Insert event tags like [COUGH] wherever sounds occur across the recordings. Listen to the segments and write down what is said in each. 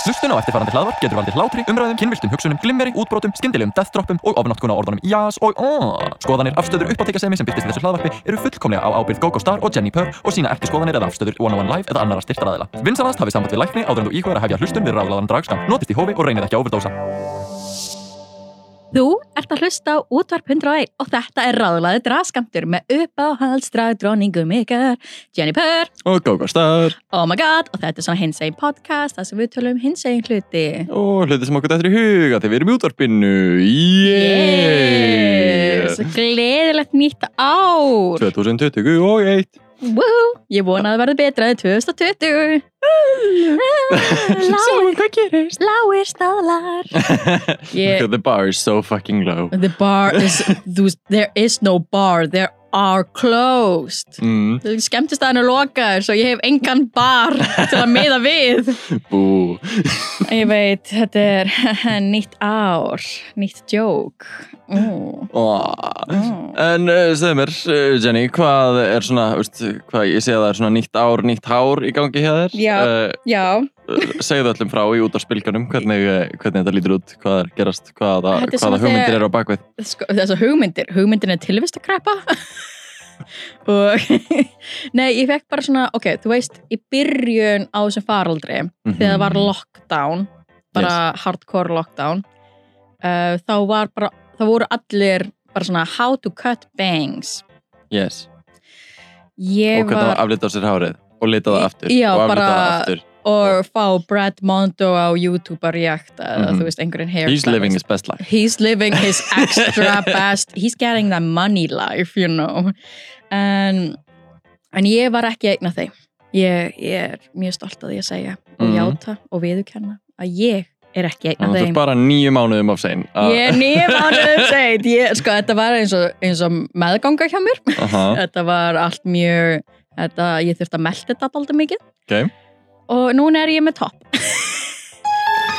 Hlustun á eftirfarandi hlaðvarp getur valdið hlátri, umræðum, kynviltum hugsunum, glimmeri, útbrotum, skyndilegum deathdroppum og ofnotkun á orðunum jás og aaaah. Skoðanir, afstöður, uppáttekasemi sem byrtist í þessu hlaðvarpi eru fullkomlega á ábyrgð GoGo Star og Jenni Purr og sína ekki skoðanir eða afstöður One on One Live eða annara styrtaraðila. Vinsanast hafið samband við lækni áður en þú íhugar að hefja hlustun við ráðlaðan dragskam. Notist í hófi og reynið ekki að overdósa. Þú ert að hlusta á útvarp 101 og þetta er ráðlaði draskamtur með uppáhaldsdragdróningum ykkar, Jennifer, Og GoGo Star oh my god, og þetta er svona hinsegin podcast þar sem við tölum um hinsegin hluti. og hluti sem okkur dættir í huga þegar við erum í útvarpinu. Yes, gleðilegt nýtt ár. 2021 Woohoo, ég vona að það verði betra en 2020. Láir, hvað gerist? láir [LAUGHS] staðlar. Ég, The bar is so fucking low the bar is, þú- there is no bar, there are closed. mm, skemmtistæðan er lokaður svo ég hef engan bar til að miða við Bú ég veit, þetta er [LAUGHS] nýtt ár, nýtt djók mm. oh. mm. En uh, segðu mér, uh, Jenny, hvað er svona, veist, hvað ég sé að það er svona nýtt ár, nýtt hár í gangi hjá þér Já. já, uh, Segðu öllum frá í útarspilganum hvernig, eh, hvernig þetta lítur út, hvað er gerast, hvaða, Þetta er hvaða svona hugmyndir þegar- eru á bakvið sko, þessar hugmyndir hugmyndin er tilvist að krepa [LAUGHS] og [LAUGHS] nei, ég fekk bara svona, ok, þú veist í byrjun á þessum faraldri mm þegar það var lockdown bara hardcore lockdown uh, þá var bara, þá voru allir bara svona how to cut bangs yes. Ég Og hvernig það var var aflita á sér hárið og lita það Í- aftur já, og aflita það bara- aftur og fá Brad Mondo á YouTube að reakta eða Mhm. þú veist einhverjum hair He's living his best life He's living his extra best He's getting that money life, you know en, en ég var ekki einn af þeim ég, ég er mjög stolt að því að segja og Mhm. játa og viðurkenna að ég er ekki einn af Þannig að þú ert þeim bara nýju mánuðum af sein Ég er nýjum ánum segið ég, Sko, þetta var eins og, eins og meðganga hjá mér Aha, Þetta var allt mjög þetta, Ég þurfti að melta þetta alltaf mikið okay. og núna er ég með topp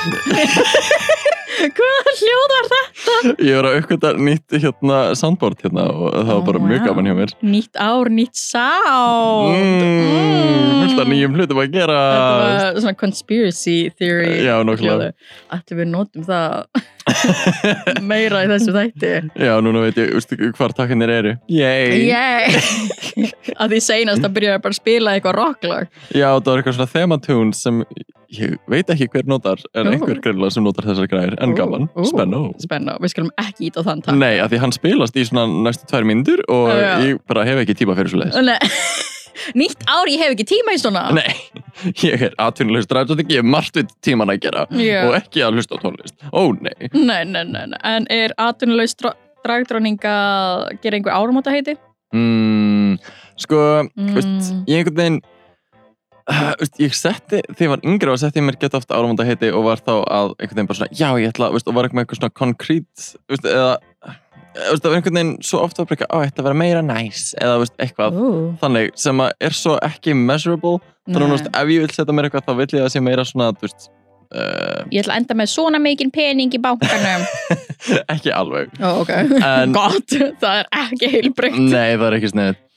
[LAUGHS] Hvaða hljóð var það? Ég var að aukvitað nýtt hérna soundboard hérna og það var Ó, bara mjög vá. gaman hjá mér Nýtt ár, nýtt sound mm, Mm. Fullt af nýjum hlutum að gera Þetta var svona conspiracy theory Já, nokkulega Ætli við notum [LAUGHS] það meira í þessu þætti Já, núna veit ég úst, hvar takkinir eru Yay. Yay [LAUGHS] Að því seinast að byrja bara að spila eitthvað rocklag Já, það var eitthvað svona thematún sem ég veit ekki hver notar en Ú. einhver greinlega sem notar þessar græðir en Ú, gaman, ú. spennó Spenna, við skulum ekki ít á þann takk Nei, af því hann spilast í svona næstu tvær myndur og Já. ég bara hef ekki tíma fyrir svo leiðis Nei. [LAUGHS] Nýtt ár, ég hef ekki tíma í svona Nei, [LAUGHS] ég er atvinnulegst ræðsótting, ég hef margt við tíman að gera Já. og ekki að hlusta á tónlist Ó, nei Nei, nei, nei, nei. En er atvinnulegs dragdróning að gera einhver áramóta heiti? mm, Sko, Mm. veist, ég einhvern veginn [SIGHS] uh, veist, ég setti, þegar ég var yngri og setti ég mér gett oft áramönda heiti og var þá að einhvern veginn bara svona, já ég ætla, veist, og var eitthvað með eitthvað svona konkrít, veist, eða veist, það var einhvern veginn svo oft að breyka á, ég ætla að vera meira næs, eða veist, eitthvað Ú, þannig sem að er svo ekki measurable þannig að nei. þú veist, ef ég vil setja mér eitthvað þá vill ég að það sé meira svona, þú veist uh, Ég ætla að enda með svona mikinn pening í [LAUGHS] bankanum. ekki alveg Ó, ok. En- Gott, það er ekki heilbreytt. [LAUGHS] Nei, það er ekki sniðið.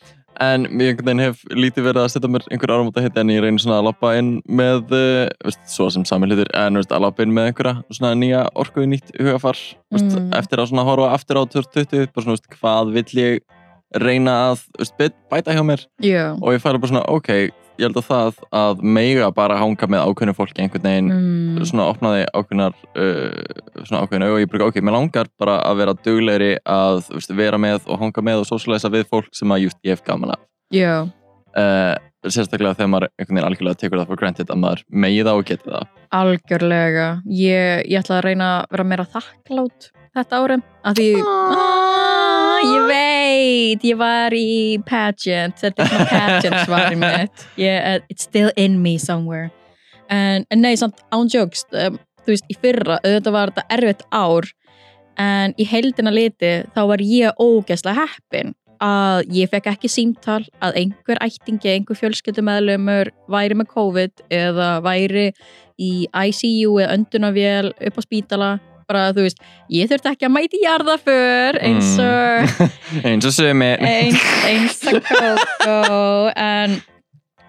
En ég einhvern veginn hef lítið verið að setja mér einhver áramóta hitt en ég reyni svona að lappa inn með, uh, veist, svo sem sami hlutir, en veist, að lappa inn með einhverja svona nýja orku í nýtt hugafar, veist, Mm. eftir að svona horfa aftur á 2020, bara svona, veist, hvað vill ég reyna að, veist, bet- bæta hjá mér Já. og ég færa bara svona, ok, ég held að það að mega bara hanga með ákveðnu fólki einhvern veginn Mm. svona opnaði ákveðnar uh, svona ákveðinu og ég bara ok, mér langar bara að vera duglegri að þú veist, vera með og hanga með og sosialisa við fólk sem að just ég hef gaman af Já. uh, sérstaklega þegar maður einhvern veginn algjörlega tekur það for granted að maður megi það og geti það Algjörlega. Ég, ég ætla að reyna að vera meira þakklátt þetta árið. Af því... Ah, ég veit, ég var í pageant, þetta er svona pageant svarið mitt. Yeah, it's still in me somewhere. En, en nei, samt ándjókst, um, þú veist, í fyrra, auðvitað var þetta erfitt ár, en í heldina liti þá var ég ógeðslega heppin að ég fekk ekki símtal að einhver ættingi, einhver fjölskyldumæðlumur væri með COVID eða væri í ICU eða öndunavél upp á spítala bara þú veist, ég þurfti ekki að mæti jarðaför eins og [LAUGHS] Eh. eins og sumi eins, eins að Coco en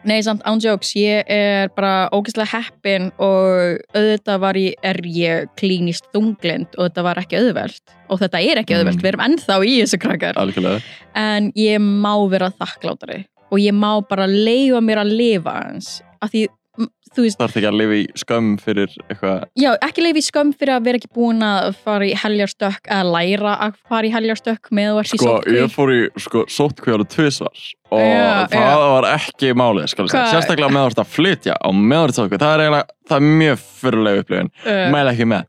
Nei, samt án jokes, ég er bara ógeðslega heppin og auðvitað var ég, er ég klínist þunglind og þetta var ekki auðvelt og þetta er ekki auðvelt, Mm. við erum ennþá í þessu krakkar algjörlega. en ég má vera þakklátari og ég má bara leifa mér að lifa hans af því, m- þú veist, Þarf ekki að lifa í skömm fyrir eitthvað. já, ekki leifa í skömm fyrir að vera ekki búin að fara í heljarstökk eða læra að fara í heljarstökk með þú ert í Sko, ég sótkvíl fór í sko, sótkvíðar tvisvar og Já, það var ekki málið, skal ég segja. Hvað? Sérstaklega með orðið að flytja og með orðið sótkvíð. Það er eiginlega, það er mjög fyrirlega upplifin. Uh, Mæla ekki með.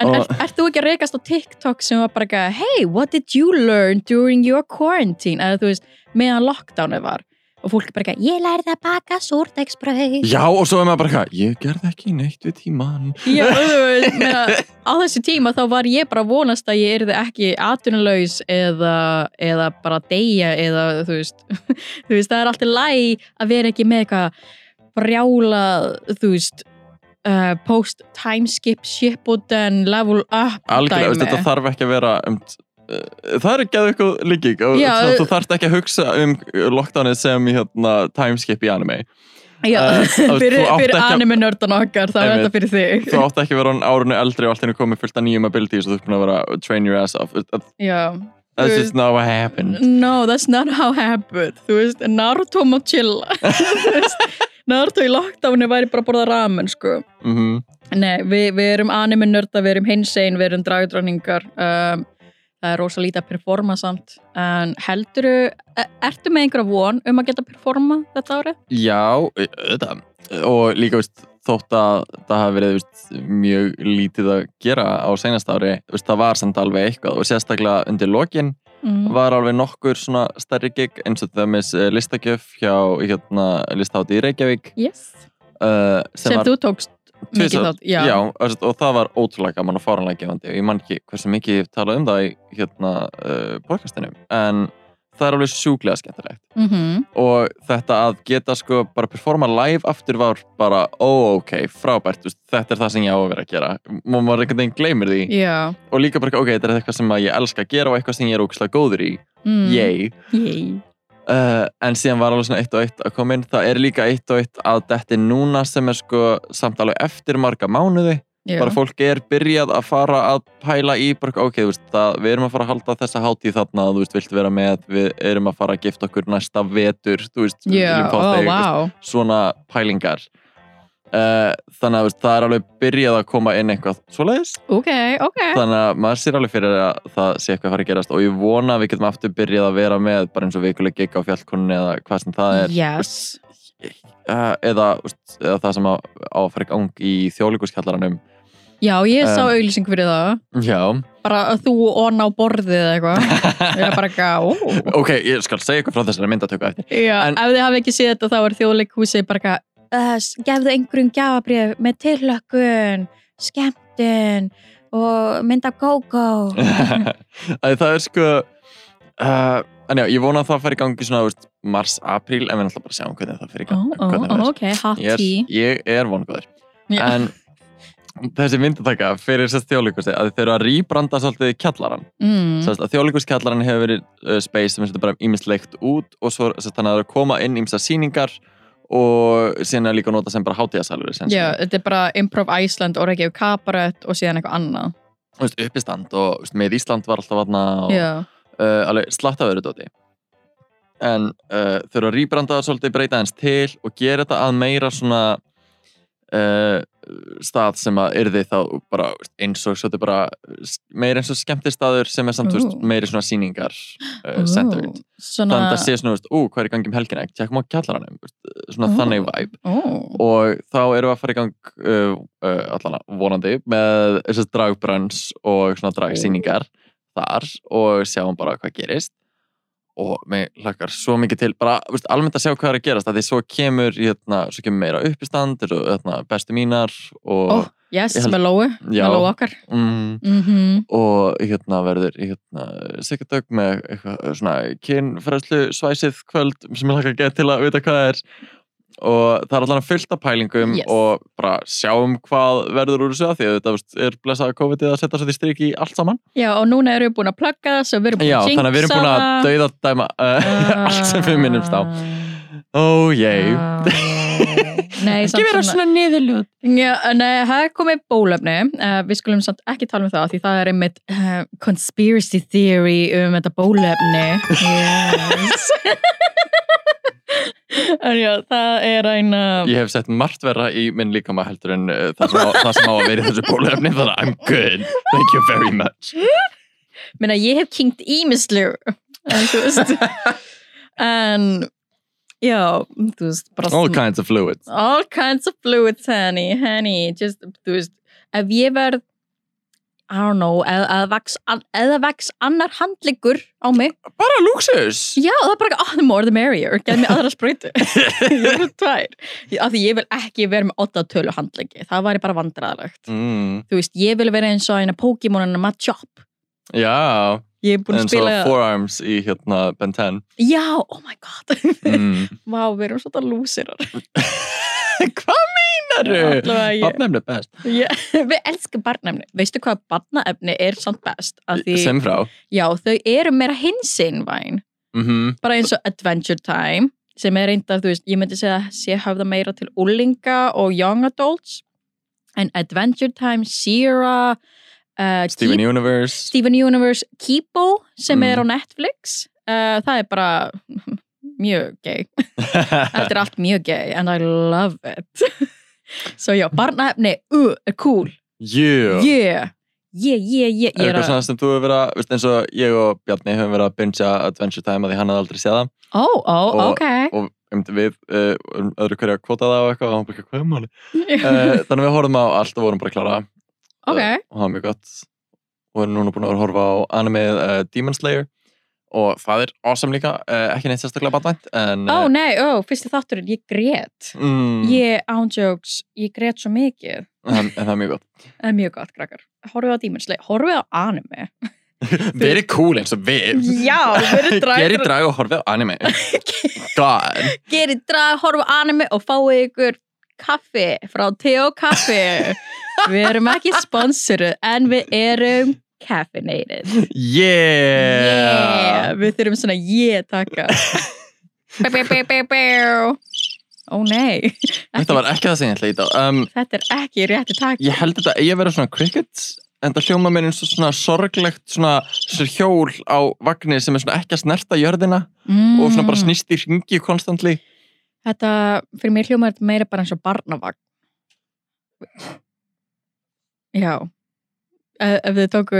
en og- ert er þú ekki að rekast á TikTok sem var bara ekki að hey, what did you learn during your quarantine eða þú veist, meðan lockdownu var og fólk er bara ekki að, ég lærði að baka súrdegsbröð Já, og svo er maður bara eitthvað, ég gerði ekki neitt við tíman. Já, þú veist, meina, á þessu tíma þá var ég bara að vonast að ég yrði ekki atvinnulegs eða, eða bara deyja eða þú veist, [LAUGHS] þú veist, það er alltaf læg að vera ekki með eitthvað brjála, þú veist, uh, post timeskip ship og den level up Algjörlega, veist, þetta þarf ekki að vera um, uh, það er ekki að eitthvað líking og Já, þú, uh, þú þarft ekki að hugsa um lockdownið sem í hérna, timeskip í anime Já, Eh, [LAUGHS] þú fyrir, átt fyrir ekki að- anime nördan okkar, þá er Einmitt. þetta fyrir þig. þú átt ekki að vera án árunu eldri og allt henni komið fullt af nýjum abilities og þú ert búin að vera að train your ass off that's Já. just not what happened No, that's not how happened Þú veist, Naruto má chilla [LAUGHS] Þú veist, Naruto í lockdowni væri bara að borða ramen, sko mm Nei, við, við erum anime nörda, við erum hinsegin, við erum dragdranningar um, Það er rosa lítið að performa samt En helduru, ertu með einhverja von um að geta performa þetta árið? Já, auðvitað og líka veist, þótt að það hafi verið veist, mjög lítið að gera á senast ári veist, það var samt alveg eitthvað og sérstaklega undir lokin Mm. var alveg nokkur svona stærri gig eins og þemis listakjöf hjá hérna, listáti í Reykjavík Yes uh, Sem, þú tókst mikið Tvisvar, þátt Já, já, og, og það var ótrúlega gaman og fáranlega gefandi og ég man ekki hversu mikið ég talaði um það í hérna uh, podcastinu en það er alveg sjúklega skemmtilegt Mhm. og þetta að geta sko bara performa live aftur var bara ó ok, frábært, þú veist, þetta er það sem ég á að vera að gera og maður einhvern veginn gleymir því já. og líka bara ok, þetta er eitthvað sem að ég elska að gera og eitthvað sem ég er ógslag góður í, Mm. mm. yay Yay. Uh, en síðan var alveg svona eitt og eitt að koma inn það er líka eitt og eitt að detti núna sem er sko samt alveg eftir marga mánuði Já. bara fólk er byrjað að fara að pæla í bara, ok, þú veist, það, við erum að fara að halda þessa hátíð þarna, þú veist, viltu vera með við erum að fara að gifta okkur næsta vetur þú veist, við Já, Oh, viljum fá ó, þig, þú veist, vá svona pælingar uh, þannig að þú veist, það er alveg byrjað að koma inn eitthvað svoleiðis Ok, ok þannig að maður sér alveg fyrir að það sé eitthvað að fara að gerast og ég vona að við getum aftur byrjað að vera með bara eins og vikuleg gig á fjallkunni eða hvað sem það er Yes uh, eða, þú veist, eða það sem á, á að fara í gang í þjóðlíkuskjallaranum Já, ég sá Um, auðlýsing fyrir það já, Bara að þú og ná borðið eða [LAUGHS] eitthvað Ég er bara ekki að, ó ok, ég skal segja eitthvað frá þessari myndatöku eftir Já, En- ef þið hafi ekki séð þetta þá er þjóðleikhúsið bara ekki að uh, Gefðu einhverjum gjafabrif með tillökkun, skemmtun og mynd af go-go [LAUGHS] Æ, það er sko uh, en já, ég vona að það fara í gang í svona, þú veist, mars, apríl en við náttúrulega bara sjáum hvernig það fer í Ó, gang ó, hvernig ó, það er. ok, hot ég tea er, ég er vongóður Já. en þessi myndataka fyrir sérst þjóðlíkusi að þeir eru að rýbranda svolítið kjallaran mm. mm. þjóðlíkuskjallaran hefur verið uh, space sem er svolítið bara ímislegt út og svo sérst, þannig að það eru að koma inn ímsa sýningar og síðan er líka að nota sem bara hátíðasalur Já, þetta er bara Improv Iceland og Reykjavík Kabarett og síðan eitthvað annað uppistand og þú veist, með Ísland var alltaf aðna og Já, uh, alveg slatt af öðru dóti en uh, þau eru að rýbranda það svolítið breyta hans til og gera þetta að meira svona uh, stað sem að yrði þá bara eins og svolítið bara s- meira eins og skemmtistaður sem er samt uh. Ú. meiri svona sýningar uh, Ó, centered Svona þannig að það sé svona, veist, ú, hvað er í gangi um helgina tjekkum á kjallaranum, veist, svona Ó. þannig væp Ó. og þá erum við að fara í gang uh, uh, allana vonandi með þessi dragbrands og svona dragsýningar þar og sjáum bara hvað gerist og mig lakkar svo mikið til bara veist, almennt að sjá hvað er að gerast af því svo kemur, hérna, svo kemur meira uppistand og, hérna, bestu mínar og, Ó, yes, Ég held- með Lóu, Já. með Lóu okkar mm, mm og hérna verður hérna, Sigurdögg með eitthvað eh, svona kynfræðslu svæsið kvöld sem ég lakka að geta til að vita hvað það er og það er allan fullt af pælingum Yes. og bara sjáum hvað verður úr þessu að því að þetta veist, er blessað COVID-ið að setja svo því strik í allt saman Já, og núna erum við búin að plugga það Ah. svo við erum búin Já, að jinxa [LAUGHS] þannig að við erum búin að það. dauða dæma uh, allt sem við minnumst á eh, Ó, jei. Á, jæ. [LAUGHS] Nei, samt Ekki vera svona- svona niðurljóð. Já, nei, það er komið bólöfni uh, við skulum samt ekki tala um það því það er einmitt uh, conspiracy theory um þetta bólöfni yes [LAUGHS] en já, það er eina Ég hef sett margt verra í minn líkama heldur en uh, það, sem á, það sem á að vera í þessu bólefni þannig að I'm good, thank you very much Meina, ég hef kynkt ímislu en þú veist en já, þú veist bara All svona- kinds of fluids all kinds of fluids, honey, honey, just, þú veist, ef ég verð, I don't know, eða eð vex, eð vex annar handleggur á mig, Bara luxus já, það er bara, oh, the more the merrier, gerð mér aðra [LAUGHS] spröytu, ég er tvær, af því ég vil ekki vera með otta tölu handleggi, það væri bara vandræðalegt, mm, þú veist, ég vil vera eins og eina Pokémon en að Machop, Já, ég er búin að eins og spila, forearms í hérna Ben 10 já, oh my god, mm. [LAUGHS] vá, við erum svona lúsirar, [LAUGHS] Hvað meinaru? allavega ég, Bafnæmni best ég, [LAUGHS] við elskum barnaefni, veistu hvað barnaefni er samt best, af því, Sem frá Já, þau eru meira hinsinvæn, mm bara eins og Adventure Time, sem er reyndar, þú veist, ég myndi segja að sé höfða meira til úlinga og young adults, en Adventure Time, Sierra, uh, Steven Keep- Universe Steven Universe, Keepo, sem Mm. er á Netflix, uh, það er bara [LAUGHS] mjög gay, [LAUGHS] þetta er allt mjög gay, and I love it. [LAUGHS] Svo já, barnaefni, uh, er cool, You yeah, yeah, yeah, yeah, Er ég er eitthvað að, svona sem þú hefur verið að, veist, eins og ég og Bjarni hefum verið að bingja Adventure Time að því hann hafði aldrei séð það ó, ó, Og- [LAUGHS] ok, og einmitt við uh, erum öðru hverju að kvota það á eitthvað og hann bara ekki hvað er [LAUGHS] máli uh, þannig að við horfum á allt og vorum bara að klára það. ok. og það var mjög gott og erum núna búin að vera að horfa á animeið uh, Demon Slayer og það er awesome líka, uh, ekki neitt sérstaklega batvænt en eh, Ó nei, ó, fyrsti þátturinn, ég grét. mm, Ég ándjóks, ég grét svo mikið. en, en það er [LAUGHS] mjög gott Það er mjög gott, krakkar. Horfið á díminsli, horfið á anime. [LAUGHS] verið cool eins og við Já, verið drag. gerið drag og horfið á [LAUGHS] anime god Gerið drag, horfið á anime og fáið ykkur kaffi frá Teo [LAUGHS] Kaffi. við erum ekki sponsoruð, en við erum caffeinated. yeah, Við þurfum svona yeah [LAUGHS] takka. Bæ, bæ, bæ, bæ, bæ. Ó nei, þetta var ekki það sem ég ætla í dag um, þetta er ekki rétti takki. ég held þetta eigi að vera svona crickets en það hljóma mér eins og svona sorglegt svona, svona hjól á vagnir sem er svona ekki að snerta jörðina Mm. og svona bara snýst í ringi konstantli Þetta, fyrir mér hljómar þetta meira bara eins og barnavagn. Já. Ef, ef þið tóku,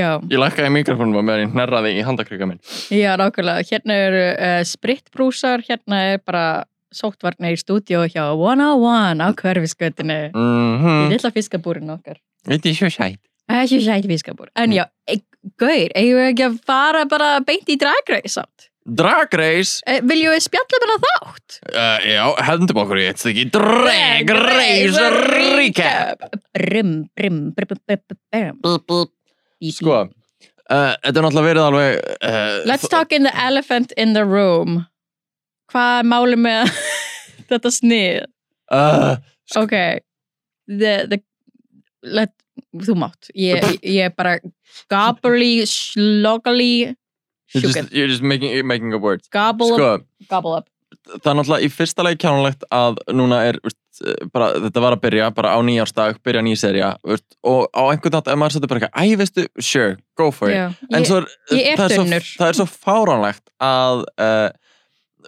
já, ég lakkaði mikrofonum á meðan ég hnerraði í handakrika minn já, nákvæmlega. Hérna eru uh, spritbrúsar, hérna er bara sóttvarnir í stúdíu hjá 101 á hverfiskötinu. Í mhm, lilla fiskabúrin okkar. þetta er svo sætt Það er ekki sætt fiskabúr. En já, e gauður, eigum við ekki að fara bara beint í dragreis átt? Drag Race, E, viljum við spjalla bara þátt? uh, já, hendum okkur í eitt stykki Drag Race Recap Uh, Brum, brum, brum, brum, brum, brum. Sko, uh, þetta er náttúrulega verið alveg uh, Let's talk in the elephant in the room Hvað er máli með [LAUGHS] þetta snið? uh, Ok the, the, let, Þú mátt Ég, ég er bara gobberly, sloggly you're, sjúkin just, you're just making, you're making up words Gobble Sko, up, gobble up það er náttúrulega í fyrsta lagi kjánulegt að núna er veist, eh, bara, þetta var að byrja bara á nýjársdag, byrja nýja serja veist, og á einhvern nátt, ef maður setur bara eitthvað æ, veistu, sure, go for it Já, en ég- svo er, ég er það, er svo, þunnur. það er svo fáránlegt að uh,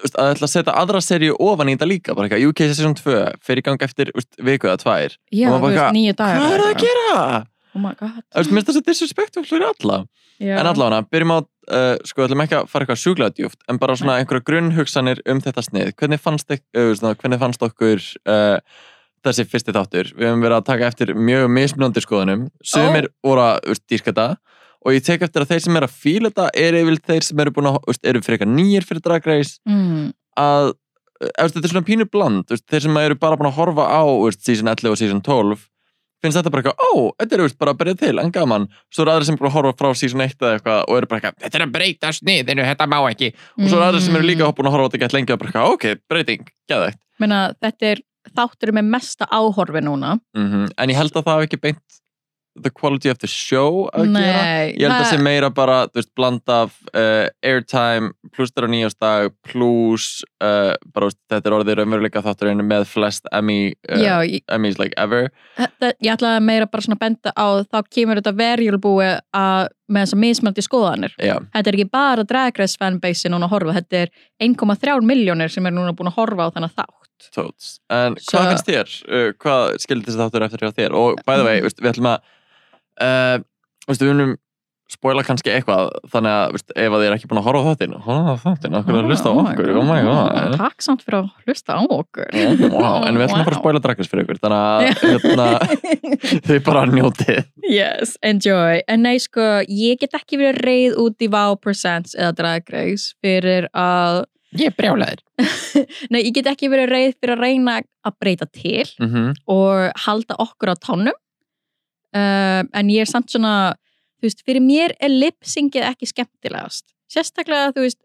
veist, að ætla að setja aðra serju ofan í þetta líka, bara eitthvað UK Season 2 fyrir í gang eftir veist, viku eða tvær Já, og þú bara veist, eitthvað, nýju dagar hvað er það eða að gera? eitthvað. Oh my god Þú veist, Mér finnst það svo disrespektful fyrir alla Já. En allavega, byrjum á, uh, sko, ætlum ekki að fara eitthvað sjúklega djúft, en bara svona einhverja grunnhugsanir um þetta snið. Hvernig fannst, ek, uh, svona, hvernig fannst okkur uh, þessi fyrsti þáttur? Við höfum verið að taka eftir mjög mismunandi skoðunum. Sumir voru að uh, dýrka þetta og ég tek eftir að þeir sem eru að fíla þetta eru yfir þeir sem eru búin að, uh, eru frekar nýjir fyrir dragreis mm, að uh, eftir, þetta er svona pínu bland, uh, þeir sem eru bara búin að horfa á uh, season 11 og season 12 finnst þetta bara eitthvað, ó, þetta er uh, bara að byrja til, en gaman, svo eru aðri sem eru búin að horfa frá season 1 eða eitthvað og eru bara eitthvað, þetta er að breyta sniðinu, þetta má ekki og svo eru aðri Mm. sem eru líka búin að horfa á þetta gett lengi og bara eitthvað, ok, breyting, geðvegt Meina, þetta er þáttur með mesta áhorfi núna Mhm, mm en ég held að það hafi ekki beint the quality of the show að gera Nei, ég held að það sé meira bara þú veist, blanda af uh, airtime pluss þeirra nýjastag pluss uh, bara, þú veist, þetta er orðið raunveruleika þátturinn með flest Emmy já, uh, ég, Emmys like ever þetta- ég ætlaði meira bara svona að benda á þá kemur þetta verjulbúi að með þess að mismöldi skoðanir já, þetta er ekki bara Drag Race fanbase núna að horfa, þetta er 1,3 miljónir sem er núna búin að horfa á þannig þátt tóts en So- hvað finnst þér? Uh, hvað skildir þessi þáttur eftir hjá þér? og by the way, þú veist, við ætlum að uh, þú veist, við unum spoila kannski eitthvað þannig að þú veist, ef að þið er ekki búin að horfa á þáttin horfa á þáttin, okkur að hlusta á okkur oh my god Ah, mm, Takk samt fyrir að hlusta á okkur [LAUGHS] Wow, en við ætlum að fara að Wow. spoila drakkis fyrir ykkur [LAUGHS] þannig að hérna, þið bara njótið [LAUGHS] Yes, enjoy. En nei, sko, ég get ekki verið reið út í Wow Presents eða Drag Race fyrir að, Ég er brjálæður. nei, ég get ekki verið reið fyrir að reyna að breyta til Mm og halda okkur á tánum. Um, en ég er samt svona, þú veist, fyrir mér er lipsingið ekki skemmtilegast. Sérstaklega, þú veist,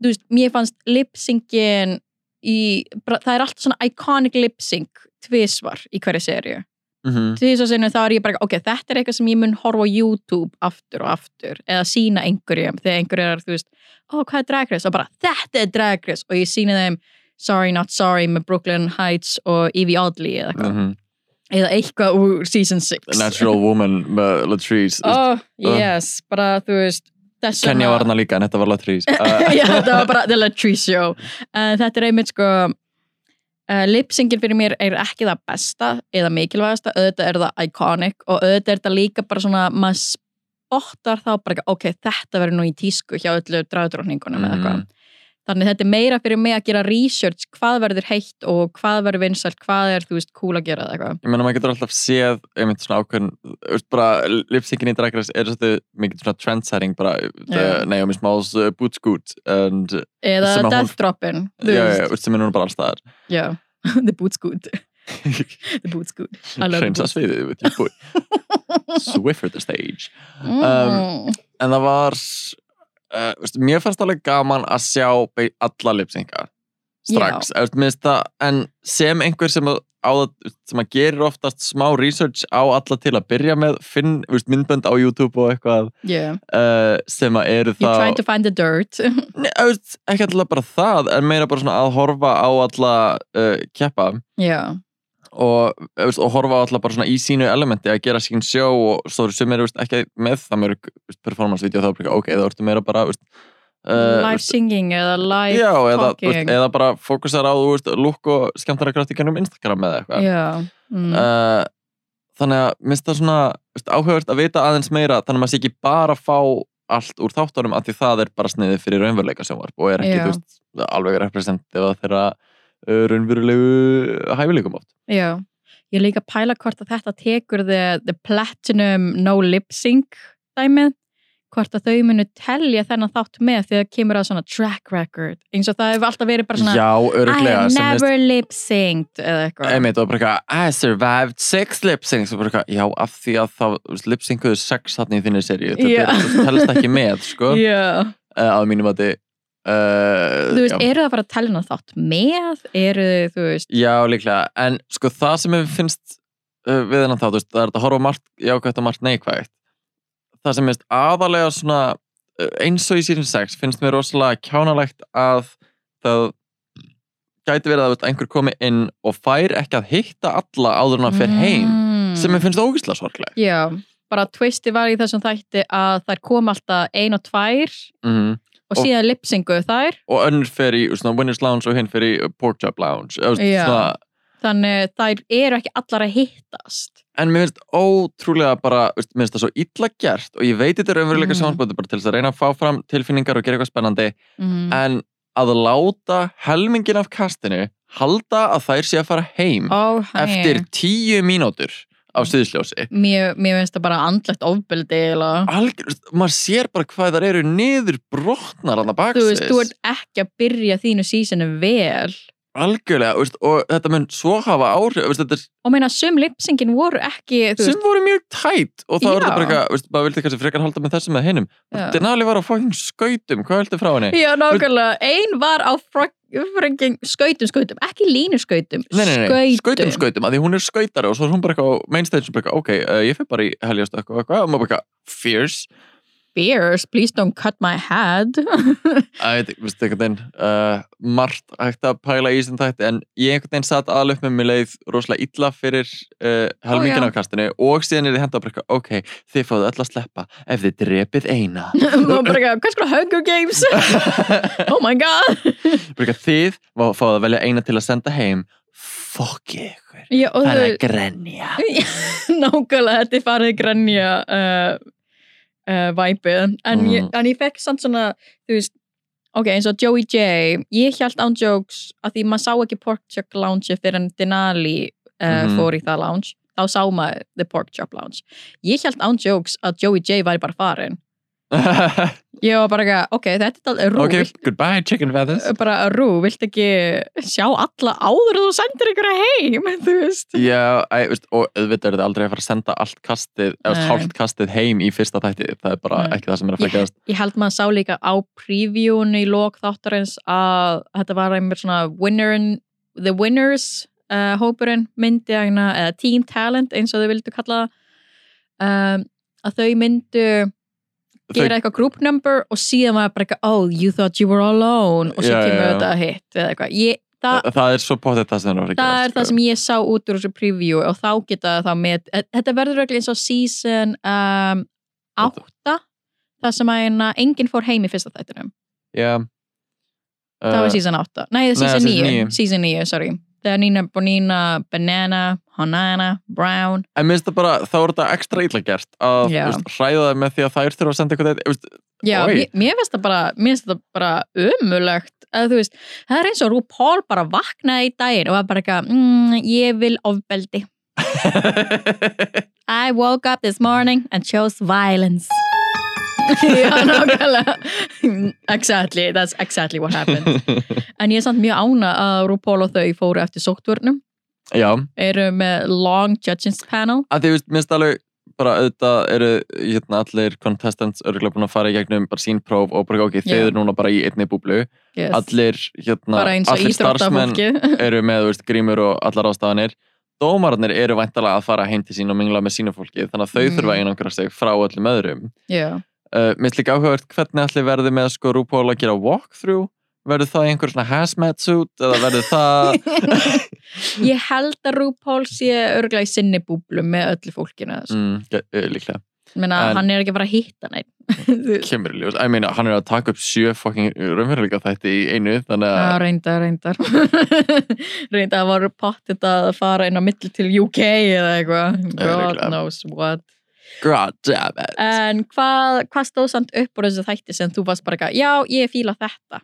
þú veist, mér fannst lipsingin í, bara, það er allt svona iconic lipsing tvisvar í hverju serju. mhm, því svo sinni þá er ég bara, ok, þetta er eitthvað sem ég mun horfa á YouTube aftur og aftur eða sína einhverjum, þegar einhverjum er þú veist, ó, hvað er Drag Race? og bara, þetta er Drag Race og ég sína þeim Sorry Not Sorry með Brooklyn Heights og Evie Oddly eða eitthvað, eða eitthvað úr season 6 mhm. Natural Woman með Latrice. Ó, Oh, yes, bara þú veist þess Kenya vegna- [LAUGHS] var hana líka en þetta var [LAUGHS] Latrice. Uh, Já, þetta var bara The Latrice Show. Uh, þetta er einmitt sko, uh, lipsingin fyrir mér er ekki það besta eða mikilvægasta, auðvitað er það iconic og auðvitað er það líka bara svona, maður spottar þá bara, ekki, ok, þetta verður nú í tísku hjá öllu draugdróningunum eða eitthvað. Mhm. Þannig þetta er meira fyrir mig að gera research, hvað verður heitt og hvað verður vinsalt, hvað er, þú veist, cool að gera eða eitthvað. Ég meina, maður getur alltaf séð, einmitt svona ákveðin, þú veist bara, lipsingin í Drag Race er svolítið mikið svona trendsetting, bara Já. yeah. Naomi Smalls uh, boot scoot, and, Eða Sem að hún- death drop-in, já, þú já, veist. þú veist, sem er núna bara allstaðar. Já, [LAUGHS] the boot's [LAUGHS] good, the boot's good. I love the Hreinsa boot's sviðið, with your boy. [LAUGHS] Swiffer the stage. Mm. Um, en það var uh, veist, mér fannst alveg gaman að sjá be- alla lipsinga strax Eða, veist, mér finnst það, en sem einhver sem að, á, það- veist, sem að gerir oftast smá research á alla til að byrja með finn veist, myndbönd á YouTube og eitthvað yeah. uh, sem að eru You try það to find the dirt. [LAUGHS] Nei, eða, veist, ekki alltaf bara það en meira bara svona að horfa á alla uh, keppa Já, og, eða, veist, og horfa á alla bara svona í sínu elementi að gera sín sjó og svo eru sumir veist, ekki með það mörg veist, performance-vídeó þá er bara ok, það ertu meira bara veist, uh, live veist, singing eða live já, eða, talking. veist, eða bara fókusar á þú veist, lúk og skemmtara grátíkanum Instagram eða eitthvað Já, mm, uh, þannig að minnst það svona veist, áhugavert að vita aðeins meira þannig að maður sé ekki bara að fá allt úr þáttunum af því það er bara sniðið fyrir raunveruleika sjónvarp og er ekki Já. þú veist, alveg representativ að þeirra uh, raunverulegu hæfileikum oft já. Ég er líka að pæla hvort að þetta tekur the, the platinum no lip sync dæmið, hvort að þau munu telja þennan þátt með þegar kemur að svona track record, eins og það hefur alltaf verið bara svona Já, I öruglega have sem minnst never lip synced eða eitthvað. einmitt og bara eitthvað I survived six lip-syncs og bara eitthvað, já, af því að þá lip-syncuðu sex hann í þinni seríu þetta Já. yeah. telst ekki með, sko yeah. [LAUGHS] Já. að mínum að þið Þú veist, uh, já. eru það bara að telja þennan þátt með? Eru, þú veist, já, líklega, en sko það sem mér finnst uh, við hennan þá, þú veist, það er hægt að horfa á margt jákvægt og margt neikvægt það sem mér finnst aðalega svona uh, eins og í season 6 finnst mér rosalega kjánalegt að það gæti verið að þú veist, einhver komi inn og fær ekki að hitta alla áður en að fer heim Mm. sem ég finnst ógislega sorgleg Já, bara twisti var í þessum þætti að þær kom alltaf ein og tvær og Og- síðan lipsingu þær og önnur fer í svona, Winners Lounge og hinn fer í Porkchop Lounge Eða, veist, Já. svona, þannig þær eru ekki allar að hittast en mér finnst ótrúlega bara veist, mér finnst það svo illa gert og ég veit þetta er raunveruleika Mhm. mm. sjónarbröðu bara til þess að reyna að fá fram tilfinningar og gera eitthvað spennandi mm. en að láta helmingin af kastinu halda að þær sé að fara heim Ó, hæ. eftir tíu mínútur á stuðsljósi Mér, mér finnst það bara andlegt ofbeldi eiginlega. Algjör, veist, maður sér bara hvað þar eru niður brotnar hann Þú að baksis veist, þú ert ekki að byrja þínu sísinu vel algjörlega veist, og þetta mun svo hafa áhrif veist, þetta er, og meina sum lipsingin voru ekki þú veist, sem voru mjög tætt og það voru Já. þetta bara eitthvað, veist, maður vildi kannski frekar halda með þessum með hinnum Já. Denali var á fucking skautum, hvað vildi frá henni? já nákvæmlega, ein var á fröngin skautum skautum, ekki línu skautum Nei, nei, nei, skautum, skautum, að því hún er skautari og svo er hún bara eitthvað á mainstage og bara eitthvað, ok, uh, ég fyrir bara í heljast eitthvað, eitthvað, og maður bara eitthvað, fierce, Bears, please don't cut my [LAUGHS] head að þetta, veist, einhvern veginn, uh, margt hægt að pæla í þessum þætti, en ég einhvern veginn satt aðlöf með mér leið rosalega illa fyrir uh, helmingin Ó, já. af kastinu og síðan er þið henda bara eitthvað, ok, þið fáðu öll að sleppa ef þið drepið [LAUGHS] eina. og bara eitthvað, hvað sko Hunger [LAUGHS] Games oh my god Bara eitthvað, þið fá- fáðu að velja eina til að senda heim, fuck ykkur, já, og það er þau að grenja. nákvæmlega þetta er farið grænja uh, uh, væpið en, Mhm. ég, en ég fekk samt svona þú veist, ok, eins og Joey J ég held án jokes að því maður sá ekki Pork Chop Lounge fyrir en Denali uh, Mhm. fór í það lounge þá sá maður The Pork Chop Lounge ég held án jokes að Joey J væri bara farin ég var bara ekki, ok, þetta er rúl ok, goodbye chicken feathers. bara Rú, vilt ekki sjá alla áður og þú sendir ykkur heim [LAUGHS] þú veist Já, æ, veist, og auðvitað er þetta aldrei að fara að senda allt kastið, eða Nei. hálft kastið heim í fyrsta þætti, það er bara Nei. ekki það sem er að fækja þess. ég held maður sá líka á previewinu í lok þáttarins að þetta var einmitt svona winnerin, the winners uh, hópurinn myndi agna, eða team talent eins og þau vildu kalla það um, að þau myndu gera eitthvað group number og síðan var bara eitthvað oh you thought you were alone og svo Já, kemur já, já. þetta hitt eða eitthvað ég, það, Það, það er svo potið það sem er að sko. fara að það er gera. það sem ég sá út úr þessu preview og þá geta það þá með e, þetta verður ekki eins og season um, Átta. 8 það sem að hérna enginn fór heim í fyrsta þættinum Já. það var Uh, season 8, nei Nei, það er season season 9 níu. season 9, sorry þegar Nina Bonina, Banana, Hanana Brown, En minnst það bara, þá er þetta ekstra illa gert að þú Já. veist, hræða það með því að þær þurfa að senda eitthvað eitt, veist, já, Oj. mér, mér finnst það bara mér finnst það bara ömulegt að þú veist, það er eins og RuPaul bara vaknaði í daginn og var bara eitthvað mm, ég vil [LAUGHS] ofbeldi I woke up this morning and chose violence. [LAUGHS] Já, nákvæmlega. exactly, that's exactly what happened. En ég er samt mjög ána að RuPaul og þau fóru eftir sóttvörnum. Já, Eru með long judges panel. að því veist, minnst alveg bara auðvitað eru hérna, allir contestants örgulega búin að fara í gegnum bara sín próf og bara ok, Já. þeir eru núna bara í einni búblu Yes. allir, hérna, Bara eins og allir starfsmenn íþróttafólki. eru með þú veist, grímur og allar ástafanir dómararnir eru væntalega að fara heim til sín og mingla með sínu fólki þannig að þau Mm. þurfa að einangra sig frá öllum öðrum [LAUGHS] Já. uh, Mér finnst líka áhugavert hvernig allir verði með sko RuPaul að gera walkthrough verður það einhver svona hazmat suit eða verður það [LAUGHS] Ég held að RuPaul sé örglega í sinni búblu með öllu fólkinu. Mm. mm, ge- eh, líklega, Menna, En- hann er ekki að fara að hitta neitt. [LAUGHS] Þú- kemur í ljós I mean, hann er að taka upp sjö fucking raunveruleika þetta í einu þannig Já, að reyndar, reyndar [LAUGHS] reyndar að voru pottit að fara inn á mill til UK eða eitthvað God örugglega. knows what god damn it En hvað hva stóð samt upp úr þessu þætti sem þú varst bara eitthvað, já, ég fíla þetta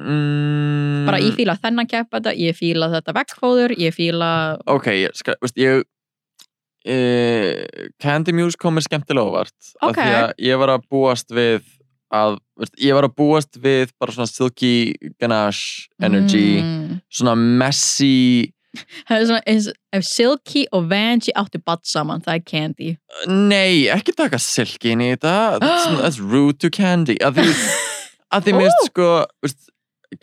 mm, bara ég fíla þennan keppa þetta, ég fíla þetta vekkfóður, ég fíla ok, ég, skal, veist, ég uh, Candy Muse kom mér skemmtilega óvart af Ok. því að ég var að búast við að, veist, ég var að búast við bara svona silky ganache energy, mm. svona messy Það er svona, eins- Ef Silky og Vanji áttu badd saman, það er candy nei, ekki taka silky inn í [GASPS] þetta that's, that's rude to Candy að því, að því Ó. mist sko veist,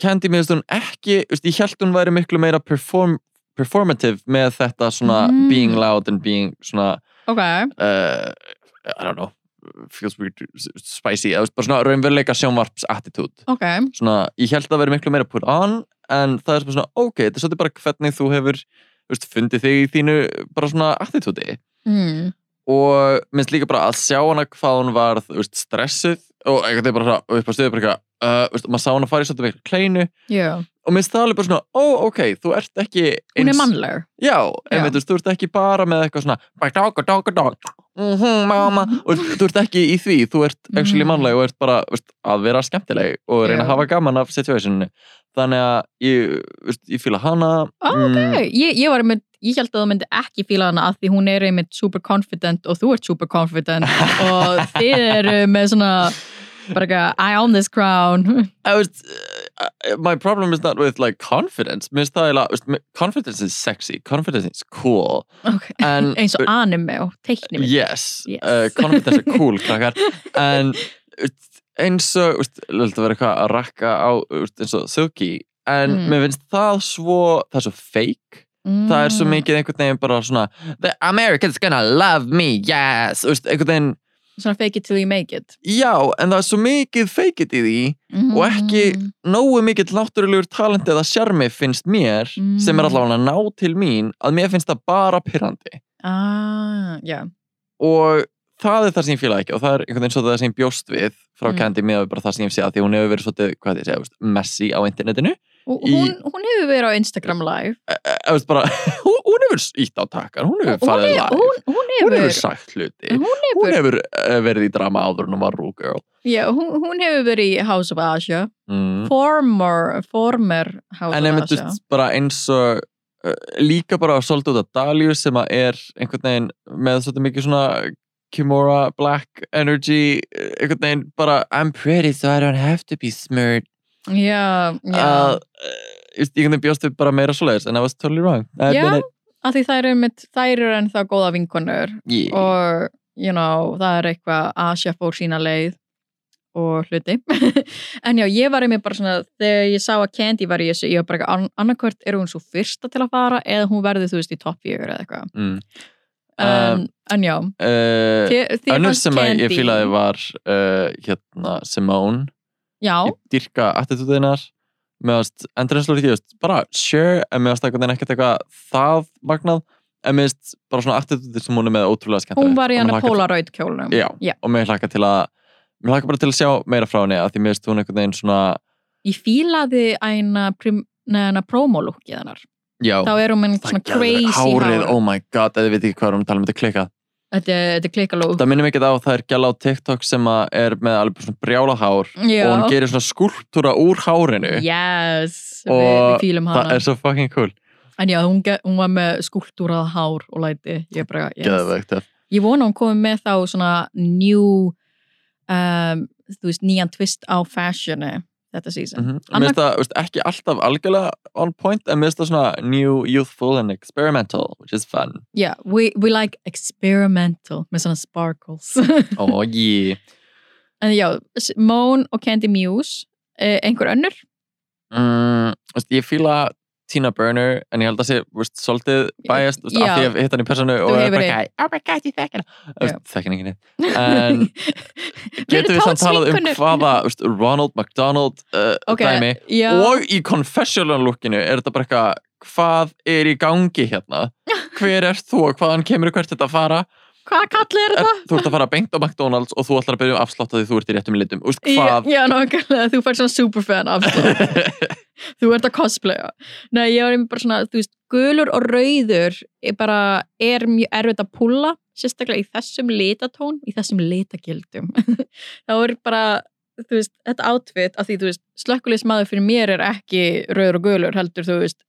Candy mist hún ekki veist, ég held hún væri miklu meira perform, performative með þetta svona Mm. being loud and being svona Ok, uh, I don't know feels weird, spicy eða bara svona raunveruleika sjónvarps attitude ok svona, ég held að vera miklu meira put on en það er svona, ok, þetta er svolítið bara hvernig þú hefur, þú veist, fundið þig í þínu bara svona attitúti mm. og minnst líka bara að sjá hana hvað hún var, þú veist, stressuð og einhvern veginn bara svona, upp á stuðu bara eitthvað, uh, þú veist, og maður sá hana fara í svolítið miklu kleinu yeah. og minnst það alveg bara svona, ó, ok, þú ert ekki Hún er mannlegur Já, en veit, þú veist, þú ert ekki bara með eitthvað svona bara dog, dog, dog, mhm, mamma og þú- þú ert ekki í því, þú ert actually Mm. mannleg og ert bara veist, að vera skemmtileg og reyna Já. að hafa gaman af situationu þannig að ég, veist, ég fíla hana Ó, mm, Nei, ég, ég var einmitt, ég held að þú myndi ekki fíla hana af því hún er einmitt super confident og þú ert super confident [LAUGHS] og þið eru með svona bara eitthvað, I own this crown [LAUGHS] að, veist, uh, my problem is not with like confidence Mér finnst það eiginlega- veist, mér- confidence is sexy confidence is cool okay. en, eins og anime og teiknum yes, Yes. Uh, confidence er cool krakkar en veist, eins og veist, lítið að vera eitthvað að rakka á veist, eins og Suki en Mm. mér finnst það svo það er svo fake mm. það er svo mikið einhvern veginn bara svona the Americans gonna love me, yes Þú veist, einhvern veginn, svona fake it till you make it já, en það er svo mikið fake it í því Og ekki- Mm. nógu mikill náttúrulegur talent eða sjarmi finnst mér Mm. sem er allavega að ná til mín að mér finnst það bara pyrrandi ah, já, og það er það sem ég fíla ekki og það er einhvern veginn svo það sem ég bjóst við frá Mm. Candy með bara það sem ég hef séð því hún hefur verið svolítið, hvað ég segja, þú veist, messy á internetinu og Í- hún, hún hefur verið á Instagram live e, e, veist, bara, [LAUGHS] hún, hún hefur ítt á takkar hún hefur hún, farið er, live hún, hún hún hefur hefur sagt hluti hún hefur, hún hefur eh, verið í drama áður en hún var Rue Girl já, hún, hún hefur verið í House of Asia mm. former, former House en of einmitt Asia veist, bara eins og uh, líka bara svolítið út af Dalíu sem að er einhvern veginn með svolítið mikið svona Kimura Black Energy uh, einhvern veginn bara I'm pretty so I don't have to be smart já, já að uh, ég einhvern veginn bjóst við bara meira svoleiðis and I was totally wrong I've Já. been it. að því þær eru, mitt, þær eru ennþá góða vinkonur Yeah. og you know, það er eitthvað Asia fór sína leið og hluti [LAUGHS] en já, ég var einmitt bara svona þegar ég sá að Candy var í þessu ég var bara eitthvað, "Ann- annarkvört er hún svo fyrsta til að fara eða hún verði, þú veist, í topp 4 eða eitthvað mm. um, en já, uh, þi- þið Eh, önnur fannst sem að ég Candy- fílaði var uh, hérna Simone já, ég dyrka attitúdinar meðast endurinslu ekki, veist, bara sure en meðast einhvern veginn ekkert eitthvað það magnað, en meðast bara svona attitúdir sem hún er með ótrúlega skemmt hún var í hana Polaroid kjólnum já, og mér hlakka til að mér hlakka bara til að sjá meira frá henni að því meðast hún einhvern veginn svona ég fílaði eina, prim, neina promolúkið hennar já, þá er hún með það svona geðveikt. crazy nou? hárið, hár oh my god, eða við veit ekki hvað erum að tala um þetta klika þetta er- þetta er klikalúk það minnum ekki á það er gæla á TikTok sem að er með alveg bara svona brjála hár já, og hún gerir svona skúltúra úr hárinu yes, við, Og við fílum hana það Oh, er svo fucking cool En já, hún, ge- hún var með skúltúrað hár og læti. Ég, bara, eh, yes. geðveikt, ja. ég vona hún komið með þá svona njú, um, þú veist, nýjan twist á fashioni þetta season. Mm -hmm. Annað- Mér finnst það veist, ekki alltaf algjörlega on point en mér finnst það svona new, youthful and experimental which is [LAUGHS] fun. Yeah, we, we like experimental með svona sparkles. [LAUGHS] Oh yeah. en já, Moan og Candy Muse, eh, einhver önnur? Mm, veist, ég fíla Tina Burner en ég held að sé veist, svolítið biased veist, af Já. því ég hef hitt hann í personu og er hefur bara hitt. gæ, oh my god, ég þekki Já. hann þekki hann ekki neitt. [LAUGHS] En getum við Eru samt talað um tálsvinkonur? hvaða veist, Ronald McDonald uh, Ok, dæmi já, og í confessional lookinu er þetta bara eitthvað hvað er í gangi [LAUGHS] hérna hver er þú og hvaðan kemur og hvert þetta fara hvað kallið er er, þetta? þú ert að fara beint á McDonalds og þú ætlar að byrja um afslátt að því þú ert í réttum litum Úst, Já, hvað? [LAUGHS] já, nákvæmlega, þú fær svona superfan afslátt. [LAUGHS] þú ert að cosplaya Nei, ég var einmitt bara svona, þú veist, gulur og rauður er bara, er mjög erfitt að púlla, sérstaklega í þessum litatón, í þessum litagildum [LAUGHS] þá er bara, þú veist þetta outfit, af því, þú veist, slökkulismaður fyrir mér er ekki rauður og gulur heldur, þú veist,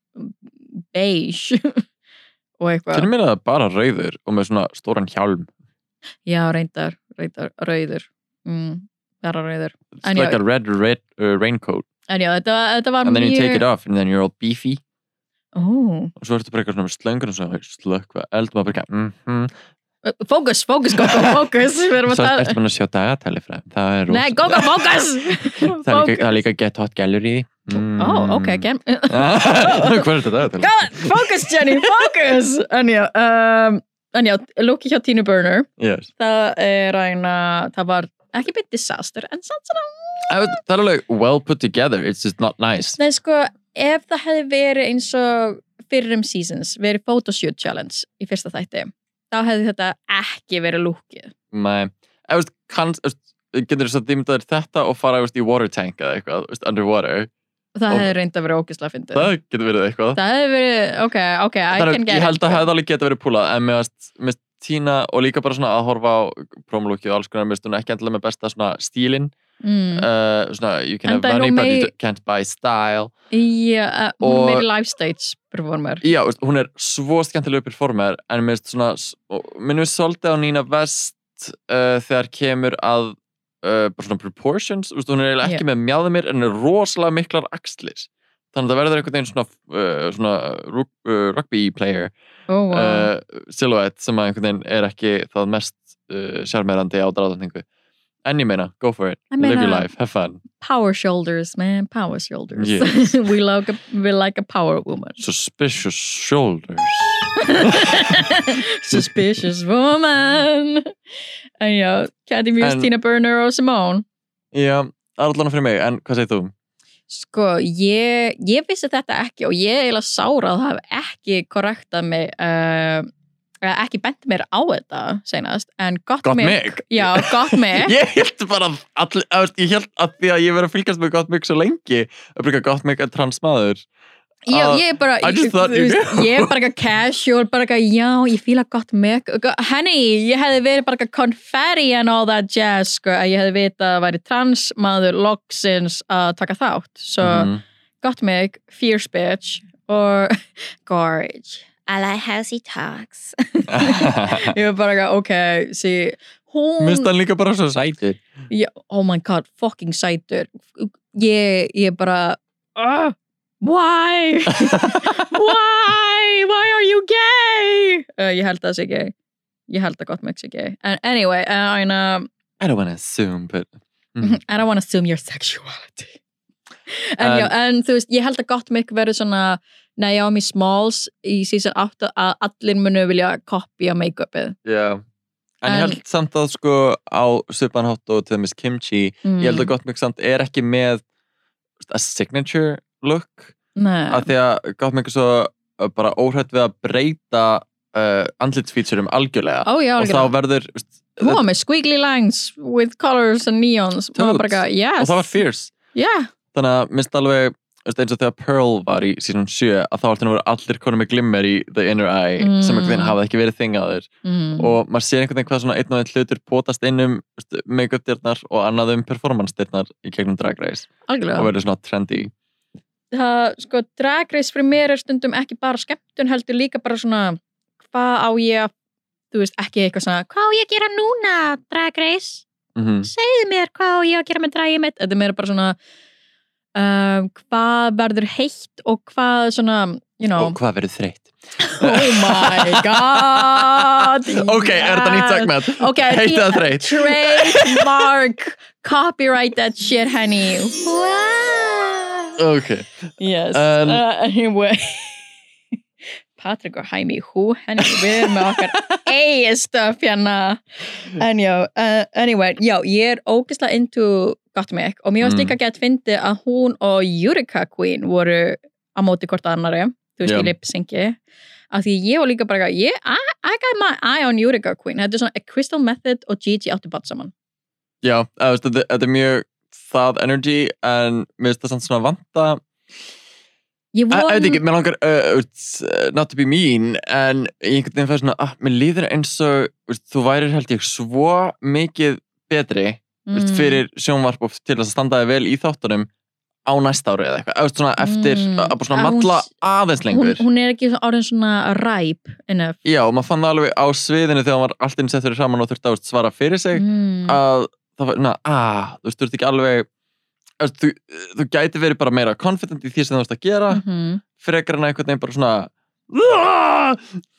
beige [LAUGHS] og eitthvað Fyrir mér er það bara rauður og með svona stóran hjálm Já, reyndar, reyndar, rauður mm, bara rauður En It's já. like a red, red uh, raincoat En já, þetta, þetta var and then you take it mjög off and then you're all beefy Ó, og svo ertu bara eitthvað svona með slöngur og svona slökva eld og maður bara mm -hmm. Fókus, fókus, [LAUGHS] Gogo, fókus Við erum að Svo tala ertu búin að sjá dagatæli frá þeim. það er Nei, rosa- Gogo, [LAUGHS] fókus! það er líka, það er líka get hot gælur í því mm. Ó, Oh, ok, [LAUGHS] gem... Hvað er þetta dagatæli? Fókus, Jenny, fókus! En já, um, en já, Loki hjá Tina Burner, Yes. það er ræna, það var ekki beint disaster, en samt svona... Æ, veit, Það er alveg well put together it's just not nice Nei, sko, ef það hefði verið eins og fyrrum seasons, verið photoshoot challenge í fyrsta þætti, þá hefði þetta ekki verið lúkið. Nei, eða veist, kanns, veist, getur þess að dýmda þér þetta og fara veist, í water tank eða eitthvað, veist, underwater Það Og- hefði reynda verið ógislega fyndið. það getur verið eitthvað Það hefði verið, ok, ok, I Það er- can get ég held it. að hefði alveg geta verið púlað en með, með tína og líka bara svona að horfa á promolóki og alls konar, með stundum ekki endilega með besta svona stílin Mm. uh, svona, you can Enda er have money hún but you mei- d- can't buy style Já, hún Og- er meiri uh, live stage performer. Já, veist, hún er svo skemmtilega performer en með svona, minnum við svolítið á Nína Vest uh, þegar eh, kemur að uh, bara svona proportions, þú veist, hún er eiginlega ekki með mjáðumir en er rosalega miklar axlir þannig að það verður einhvern veginn svona, uh, svona rug, uh, rugby player oh, wow. uh, silhouette sem að einhvern veginn er ekki það mest uh, sjarmerandi á dráðatningu en ég meina, go for it, Ég meina- live your life, have fun power shoulders, man, power shoulders Yes. [LAUGHS] we, like a, we like a power [LAUGHS] woman suspicious shoulders suspicious woman en já, Katy Muse, En- Tina Burner og Simone já, það er allan fyrir mig, en hvað segir þú? Sko, ég, ég vissi þetta ekki og ég eiginlega sára að það hef ekki korrektað mig uh, ekki bent mér á þetta senast, en gott, Gott mig mig? Já, gott mig ég held bara að, all, að, veist, ég held að því að ég verið að fylgjast með gott mig svo lengi að bruka gott mig að trans maður Já, Uh, ég er bara, I just ég, [LAUGHS] thought you knew. ég er bara eitthvað casual, bara eitthvað, já, ég fíla gott mig Henni, ég hefði verið bara eitthvað confetti and all that jazz, sko, að ég hefði vitað að það væri transmaður loksins að taka þátt, svo [LAUGHS] Mhm. Got Meg, Fierce Bitch [LAUGHS] og [LAUGHS] Gorge. I like how she talks. Mér Ég var bara eitthvað, ok, sí, hún, finnst hann líka bara svo sætur ég, oh my god, fucking sætur. Ég, ég bara, uh, [LAUGHS] why? why? Why are you gay? Uh, ég held að það sé gay. Ég held að Got Meg sé gay. And anyway, uh, I, know, I don't wanna assume but Mm. I don't want to assume your sexuality. [LAUGHS] En, En- já, en þú veist, ég held að gott mikk verið svona Naomi Smalls í season 8 að allir munu vilja kopja make-upið. yeah. En ég En- held samt að sko á Subanhátt og til dæmis Kimchi Mm. Ég held að gott mig samt er ekki með þú veist, a signature look Nei, af því að gott mig er svo uh, bara óhrætt við að breyta uh, andlitsfeaturum algjörlega ó já, og algjörlega. þá verður þú veist, Hún var með squiggly lines with colors and neons. Hún var Dude. bara eitthvað, og yes. það var fierce Yeah, þannig að minnst alveg þú veist, eins og þegar Pearl var í season 7 að þá alltaf voru allir konum með glimmer í The Inner Eye Mm. sem einhvern veginn hafði ekki verið þingaður mm. og maður sér einhvern veginn hvað svona einn og einn hlutur potast inn um þú veist, make-up-dyrnar og annað um performance-dyrnar í gegnum Drag Race og algjörlega. verður svona trendy Það, sko, Drag Race fyrir mér er stundum ekki bara skemmtun, heldur líka bara svona, hvað á ég að, þú veist, ekki eitthvað svona, hvað á ég að gera núna, Drag Race? mm segðu mér hvað á ég að gera með dragið mitt þetta er meira bara svona um, hvað verður heitt og hvað svona, you know og hvað verður þreytt oh my god [LAUGHS] ok, er þetta nýtt yes. segment? ok, heitt yeah, eða þreytt? trademark copyright that shit honey wow. ok, yes, En- uh, anyway [LAUGHS] Patrick og Hæmi hú henni, við erum með okkar eigið stöf hérna en já, uh, anyway, já, ég er ógislega into Gottmik og mér varst Mm. líka gett fyndi að hún og Eureka Queen voru á móti hvort annari, þú veist, Já. í lipsengi af því ég var líka bara eitthvað, ég, I, I got my eye on Eureka Queen þetta er svona a crystal method og Gigi áttu bátt saman já, eða, þú veist, þetta þetta er mjög það energy en mér finnst það samt svona vanta ég Ég von, veit ekki, mér langar uh, uh, not to be mean, en ég einhvern veginn fæði svona, ah, mér líður eins og uh, þú værir held ég svo mikið betri mm. fyrir sjónvarp og til þess að standa þig vel í þáttunum á næsta ári eða eitthvað, eða svona eftir Mm. mm. að bara svona Að hún matla s- aðeins hún, lengur. hún er ekki svona- orðin svona ræp enough Já, og maður fann það alveg á sviðinu þegar maður allt inn settur í saman og þurfti að þú veist, svara fyrir sig mm. að það var, na, ah, þú veist, þú ert ekki alveg þú veist, þú, þú gæti verið bara meira confident í því sem þú veist að gera -hmm. frekar en að einhvern veginn bara svona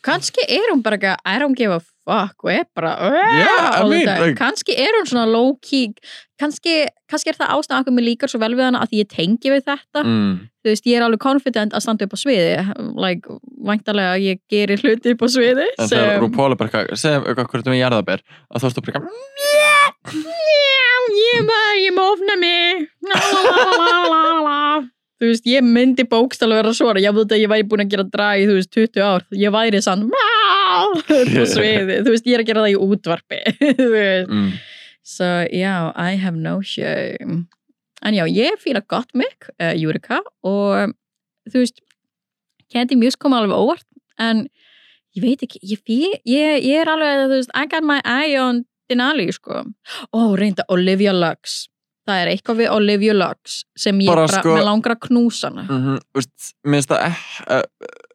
kannski er hún bara eitthvað I don't give a fuck og er bara Yeah, I all the mean, time. like- kannski er hún svona low key kannski, kannski er það ástæðan okkur mér líkar svo vel við hana að ég tengi við þetta mm. þú veist, ég er alveg confident að standa upp á sviði like, væntalega að ég gerir hluti upp á sviði En sem- þegar RuPaul er bara eitthvað, segjum eitthvað hvernig við jarðabér að þú ertu bara eitthvað, Já, ég bara, ég má ofna mig La, la, la, la, la, la. Þú veist, ég myndi bókstala vera svona Ég veit að ég væri búin að gera drag í, þú veist, 20 ár Ég væri sann [LAUGHS] Þú veist, ég er að gera það í útvarpi [LAUGHS] Þú veist mm, So, já, I have no shame En já, ég fíla gott mig uh, Júrika og þú veist, Candy Muse kom alveg óvart en ég veit ekki ég, fí, ég, ég er alveg, þú veist I got my eye on Denali, sko Ó, reynda Olivia Lux Það er eitthvað við Olivia Lux sem ég bara, Bara, bara sko- með langra knúsana mm -hmm, veist, minnst það uh,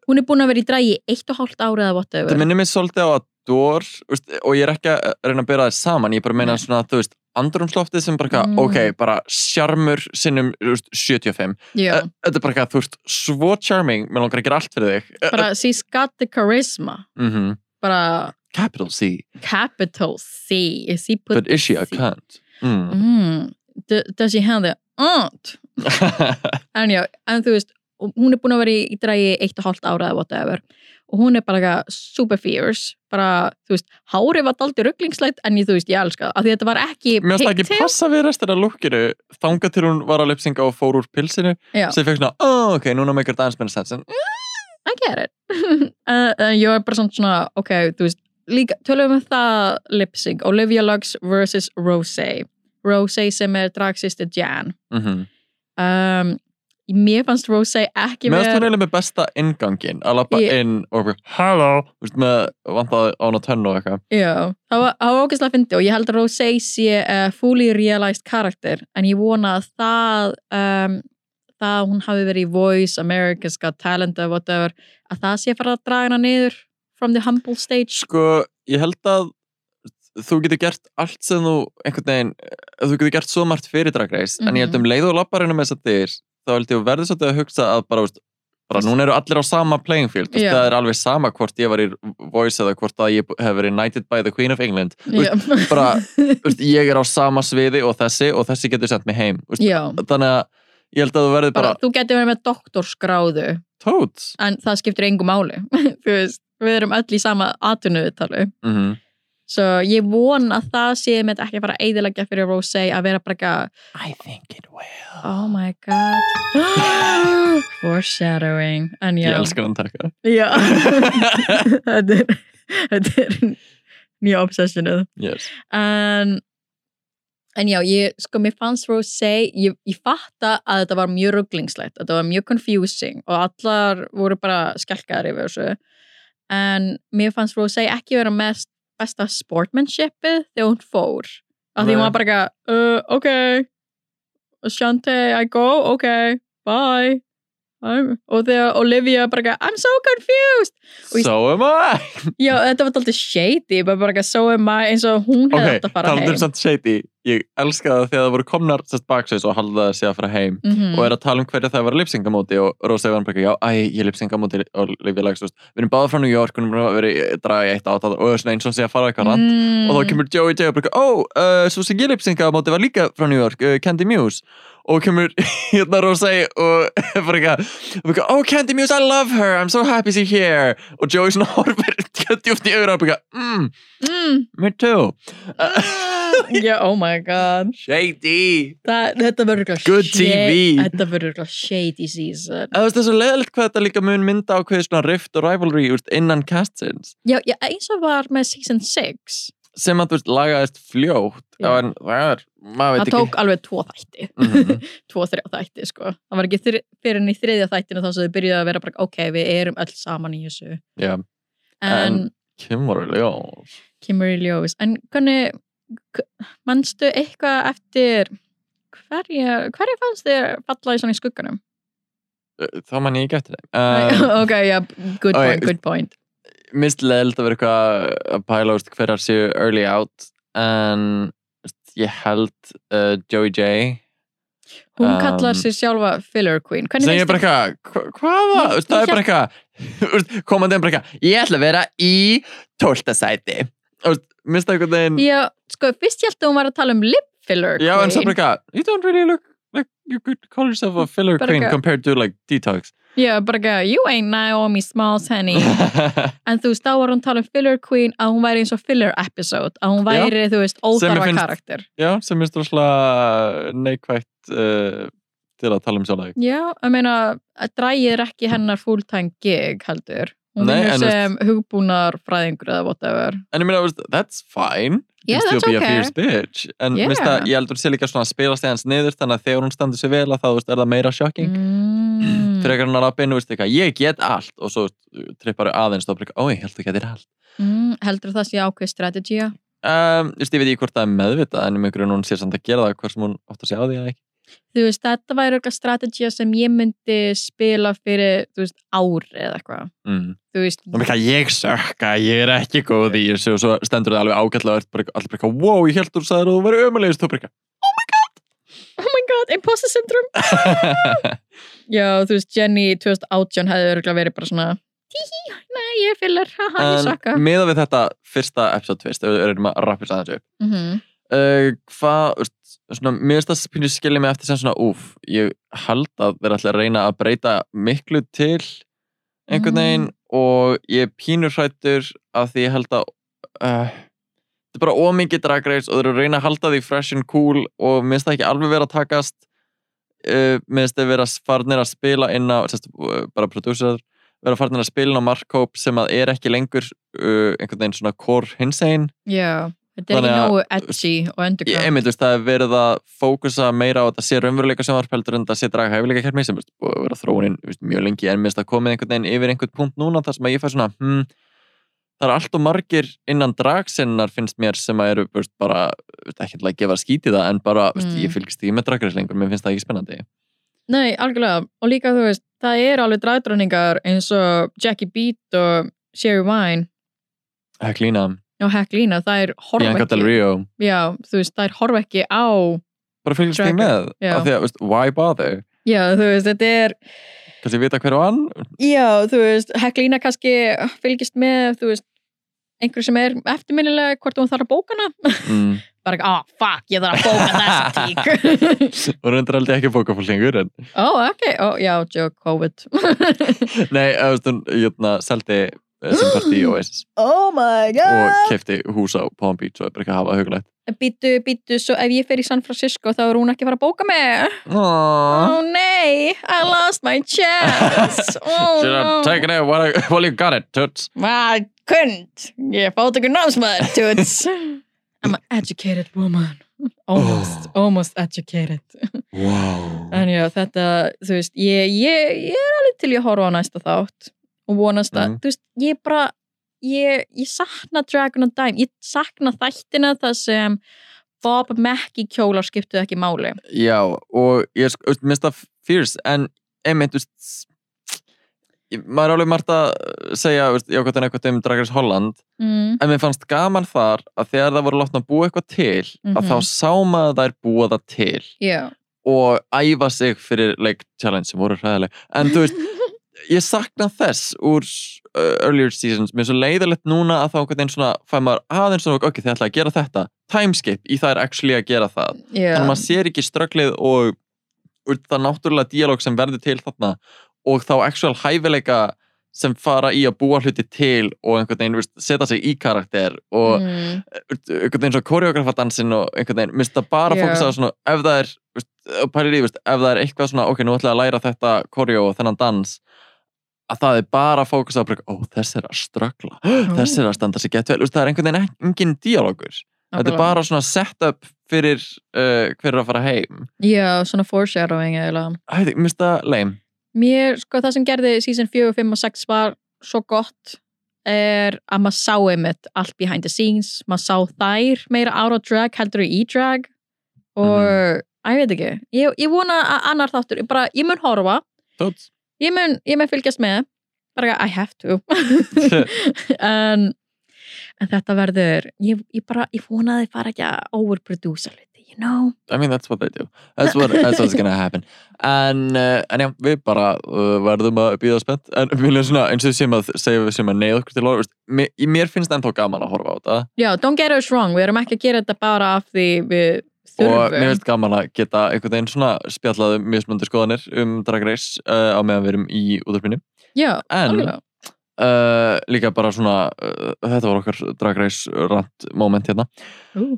Hún er búin að vera í dragi í eitt og hálft árið eða það whatever minnir mig svolítið á að dór, veist, og ég er ekki að reyna að bera það saman, ég bara meina Nei. svona, þú veist andrumsloftið sem bara, mm. Mm. ok, bara sjarmur sinnum þú veist, 75 já, Eh, Þetta er bara eitthvað, þú ert svo charming mér langar að gera allt fyrir þig Eh, bara she's got the charisma mhm bara Capital C, capital C is he put but is she a C? cunt? Mm. mm, d- does she have the aunt [LAUGHS] en já, en þú veist hún er búin að vera í drægi eitt og hálft ára eða whatever og hún er bara eitthvað super fierce bara, þú veist, hárið var daldi rugglingslætt en ég, þú veist, ég elska það af því þetta var ekki Mér finnst það ekki pigtail. passa við restina lukkinu þanga til hún var að lipsinga og fór úr pilsinu Já. sem fekk svona, oh, ok, núna meikir þetta aðeins meina sens en I get it [LAUGHS] uh, uh, ég er bara samt svona, ok, þú veist líka, tölum við um það lipsing Olivia Lux vs. Rosé Rosé sem er dragsýsti Jan mm um, mér fannst Rosé ekki Mér finnst hún vera eiginlega með besta ingangin að lappa Ég- inn og bara, hello Þú veist, með vantaði á hana tönnu og eitthvað Já, það var, það var ógæslega fyndi og ég held að Rosé sé uh, fully realized karakter en ég vona að það um, það að hún hafi verið í Voice, America's Got Talent eða whatever, að það sé fara að draga hana niður from the humble stage Sko, ég held að þú getur gert allt sem þú einhvern veginn, eh, þú getur gert svo margt fyrir dragreis, en ég held Mhm. um leið og lappar inn með þess að dyr, þá held ég að verður svolítið að hugsa að bara, þú veist, bara núna eru allir á sama playing field, yeah. Já. það er alveg sama hvort ég var í Voice eða hvort að ég hef verið knighted by the Queen of England Þú veist, bara, þú veist, ég er á sama sviði og þessi og þessi getur sendt mig heim Þú veist, [LAUGHS] Já, þannig að ég held að þú verður bara bara, þú getur verið með doktorskráðu tóts en það skiptir engu máli [LAUGHS] þú veist, við erum öll í sama atvinnuðtali mm svo ég von að það sé með ekki að fara að eidilegja fyrir Rosé að vera bara ekki að I think it will Oh my god [GASPS] Foreshadowing En já, Ég elskar hann takka [LAUGHS] já. Þetta er Þetta er nýja obsessionuð yes. En En já, ég, sko, mér fannst Rosé, ég, ég fatta að þetta var mjög rugglingslegt, þetta var mjög confusing og allar voru bara skelkaðar yfir þessu. En mér fannst Rosé ekki vera mest besta sportmanshipið þegar hún fór. Af því hún Nei. var bara eitthvað, uh, ok, Shante, I go, ok, bye. I'm, og þegar Olivia bara eitthvað, I'm so confused. Og ég- So am I Já, þetta var alltaf shady, bara bara eitthvað, so am I, eins og hún hefði Ok, um átt að fara talandum heim. samt shady Ég elska það þegar það voru komnar sérst baksveis og haldið að sé að fara heim Mhm. og er að tala um hverja það var lipsingamóti og Rósa var bara, já, æ, ég lipsingamóti og Livia Lags, þú veist, við erum báða frá New York og við erum verið draga í eitt átt og svona eins og sé að fara á eitthvað rand mm. og þá kemur Joey J og bara, ó, uh, svo sem ég lipsingamóti var líka frá New York, uh, Candy Muse og kemur [LAUGHS] hérna Rósa og [LAUGHS] bara eitthvað, og bara, oh, Candy Muse, I love her, I'm so happy she's here og Joey svona horfir [LAUGHS] djúft í augur og bara, mm, mm. me too Já, oh my god [LAUGHS] Shady Þa, Þetta verður eitthvað Good shady- TV. Þetta verður eitthvað shady season Það er svo leiðilegt hvað þetta líka mun mynda á hverju svona rift og rivalry úrst innan castins Já, já eins og var með season 6 sem að þú veist lagaðist fljótt Já. en það er, maður Það veit ekki tók alveg tvo þætti Mhm. [LAUGHS] Tvo, þrjá þætti, sko Það var ekki þri, fyrir en í þriðja þættinu þá sem þau byrjuðu að vera bara ok, við erum öll saman í þessu Já, En, En- kemur alveg ljós kemur í ljós En hvernig, k- manstu eitthvað eftir Hverja, hverja fannst þér falla í svona í skugganum? Þá man ég ekki eftir þeim um, [LAUGHS] ok, já, good ok, point, good point Mist leiðilegt að vera eitthvað að pæla úrst hverjar séu early out en þú veist, ég held uh, Joey J Hún Um, kallar sig sjálfa filler queen. Hvernig sem ég finnst bara eitthvað, hva- hvaða? Ég- Þú veist, Það ég er bara eitthvað [LAUGHS] þú veist, komandi er bara eitthvað, ég ætla að vera í tólta sæti Þú veist, Mista einhvern veginn þér- Já, sko, fyrst ég held að hún var að tala um lip filler Já, en queen. samt bara eitthvað, you don't really look like you could call yourself a filler Bara queen eitthvað- compared to like detox. Já, bara ekki, you ain't Naomi Smalls [LAUGHS] henni. en þú veist, þá var hún að tala um filler queen að hún væri eins og filler episode. Að hún Já. væri, þú veist, óþarfa finnst- karakter. Já, sem er stróðslega neikvægt uh, til að tala um sjálf þig. Já, ég meina, að drægið er ekki hennar fulltime gig, heldur. Hún Nei, vinnur en þú sem hugbúnar fræðingur eða whatever. En ég meina, veist, that's fine. Yeah, You still that's be a okay. fierce bitch. En Yeah. yeah. mista, ég heldur sé líka svona að spila stegans niður þannig að þegar hún standur sér vel að það veist, er það meira sjokking. Mm, [CLEARS THROAT] Frekar hann að lappa inn og veist eitthvað, ég get allt og svo uh, trippar aðeins og bara, ó, ég held þú getur allt. mm, heldur það sé ákveð strategía? Um, þú veist, ég veit ekki hvort það er meðvitað en í mjög grunn hún sé samt að gera það hvort sem hún átt að sjá því að ekki. þú veist, þetta væri eitthvað strategía sem ég myndi spila fyrir, þú veist, ári eða eitthvað, Mm. þú veist Það er ekki að ég sökka, ég er ekki góð í þessu og svo stendur það alveg ágætlega og ert bara eitthvað- allir bara eitthvað, wow, ég held þú sagðir að þú verið ömulegist þú bara eitthvað. oh my god, imposter syndrome [LAUGHS] já, þú veist, Jenny 2018 hefði örgulega verið bara svona tíhí, nei, ég er fyllir, haha, ég sakka En miða við þetta fyrsta episode tvist, ef við erum að rappa þess aðeins upp. mm -hmm. Uh, hvað, þú veist, svona, mér finnst það pínu skilja mig eftir sem svona, úf, ég held að þeir ætla að reyna að breyta miklu til einhvern veginn og ég er pínur hrættur að því ég held að uh, þetta er bara ómikið dragreis og þeir eru að reyna að halda því fresh and cool og mér finnst það ekki alveg vera að takast uh, mér finnst þeir vera farnir að spila inn á, sérst, uh, bara prodúsir vera farnir að spila inn á markkóp sem að er ekki lengur uh, einhvern veginn svona core hinsegin já, þetta er Þannig ekki að- nógu edgy og Ég, underground einmitt, þú veist, það er verið að fókusa meira á að það sé raunveruleika sjónvarp heldur en það sé draga hæfileika kermi sem þú veist, búið að vera þróunin þú veist, mjög lengi en minnst að komið einhvern veginn yfir einhvern punkt núna þar sem að ég fæ svona hmm, það er allt og margir innan dragsinnar finnst mér sem að eru þú veist, bara, þú veist, ekki til að gefa skítið það en bara, þú veist, Mm. ég fylgist ekki með dragreis lengur mér finnst það ekki spennandi Nei, algjörlega. Og líka þú veist, það eru alveg dragdröningar eins og Jackie Beat og Sherry Vine Heklína, og Heck Lína, það er horfa Bianca Del ekki Rio Já, þú veist, það er horfa ekki á bara fylgist ekki Drag- með, Já. af því að, þú veist, why bother Já, þú veist, þetta er kannski vita hver vann Já, þú veist, Heck Lína kannski fylgist með, þú veist einhver sem er eftirminnilega hvort hún þarf að bóka hana mm. [LAUGHS] bara ekki, ah, fuck, ég þarf að bóka þessa tík og reyndar aldrei ekki bóka fólk lengur en [LAUGHS] Ó, ok, ó, já, joke, COVID Nei, eða, þú veist, hún jötna, seldi eh, sem partí og eins Oh my og kefti hús á Palm Beach og er bara ekki að hafa hugulegt Býtu, býtu, svo ef ég fer í San Francisco þá er hún ekki að fara að bóka mig Aww Oh nei, I lost my chance Oh [LAUGHS] Should no have taken it while, I- while you got it, toots Maður kund Ég fótt ykkur námsmaður, toots I'm an educated woman Almost, Oh. almost educated Wow En já, þetta, þú veist ég, ég, ég er alveg til ég að horfa á næsta þátt og vonast að, Mhm. þú veist, ég bara ég, ég sakna Dragon and Dime ég sakna þættina það sem Bob Mackie kjólar skiptuð ekki máli Já, og ég sko, veist, minnst það fierce en einmitt, þú veist ég- maður er alveg margt að segja, veist, ég ákvæmt en eitthvað um Dragars Holland mm. en mér fannst gaman þar að þegar það voru látna að búa eitthvað til Mhm. að þá sá maður þær búa það til Já og æfa sig fyrir leik challenge sem voru hræðileg en þú veist, ég sakna þess úr uh, earlier seasons mér er svo leiðilegt núna að þá einhvern veginn svona fæ maður aðeins svona, ok, þið ætla að gera þetta timeskip í það er actually að gera það þannig að Já, maður sér ekki strögglið og, og það náttúrulega dialog sem verður til þarna og þá actual hæfileika sem fara í að búa hluti til og einhvern veginn veist, setja sig í karakter og mm. [GASPS] einhvern veginn svo koreografadansin og einhvern veginn, minnst það bara Já. yeah. fókusa á svona, ef það er, veist, og pælir í, veist, ef það er eitthvað svona, ok, nú ætla ég að læra þetta koreo og þennan dans að það er bara fókusa á, bara, ó, þess er að ströggla, Mm, þess er að standa sér gett vel, veist, það er einhvern veginn ek- engin dialogur, þetta er Nákvæmlega. bara svona setup fyrir uh, hver er að fara heim Já, svona foreshadowing eiginlega. Æ, minnst það leim Mér, sko, það sem gerði season 4, 5 og 6 var svo gott er að maður sá einmitt allt behind the scenes, maður sá þær meira ára drag heldur í drag og, Mhm. æ, ég veit ekki ég, ég vona að annar þáttur, ég bara ég mun horfa, Tóts. ég mun, ég mun fylgjast með bara I have [LAUGHS] to en, en þetta verður ég, ég bara, ég vona að þið fara ekki að overproduce alveg, you know I mean, that's what they do That's, what, that's what's gonna happen En, uh, en já, við bara uh, verðum að býða spennt En við viljum svona, eins og við séum að segja við séum að neyða okkur til orð veist, mér, mér finnst ennþá gaman að horfa á þetta Já, don't get us wrong, við erum ekki að gera þetta bara af því við Og mér þurfum finnst gaman að geta einhvern veginn svona spjallaðum mismunandi skoðanir um Drag Race uh, á meðan við erum í útvarpinu Já, En algjörlega uh, líka bara svona, uh, þetta var okkar Drag Race rant moment hérna Ú.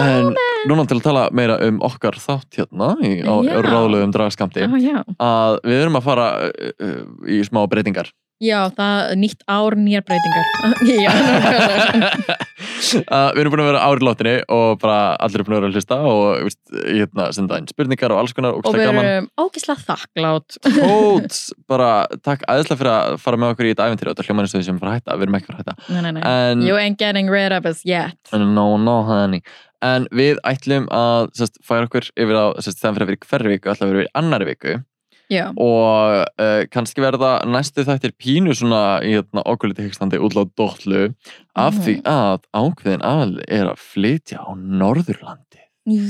En núna til að tala meira um okkar þátt hérna í, á Já. ráðlegum dragskamti Já, já, [LAUGHS] að við erum að fara uh, uh, í smá breytingar [LAUGHS] Já, það nýtt ár nýjar breytingar. [LAUGHS] Já, [LAUGHS] nákvæmlega. Uh, við erum búin að vera árið látinni og bara allir er búin að vera að hlusta og veist, hérna, senda inn spurningar og alls konar og og við gaman erum ógislega þakklátt. Hóts, bara takk aðeinslega fyrir að fara með okkur í þetta æfintýri og þetta hljóma eins og við sem fara að hætta, við erum ekki fara að hætta Nei, nei, nei. en, You ain't getting rid of us yet. no, no, honey en við ætlum að sest, færa okkur yfir á, sest, þannig fyrir að vera hverri viku ætlum að vera yfir í annari viku Já, og uh, kannski verða næstu þættir pínu svona í hérna, okkur liti hegstandi útlátt dóttlu af Mhm. því að ákveðin aðal er að flytja á Norðurlandi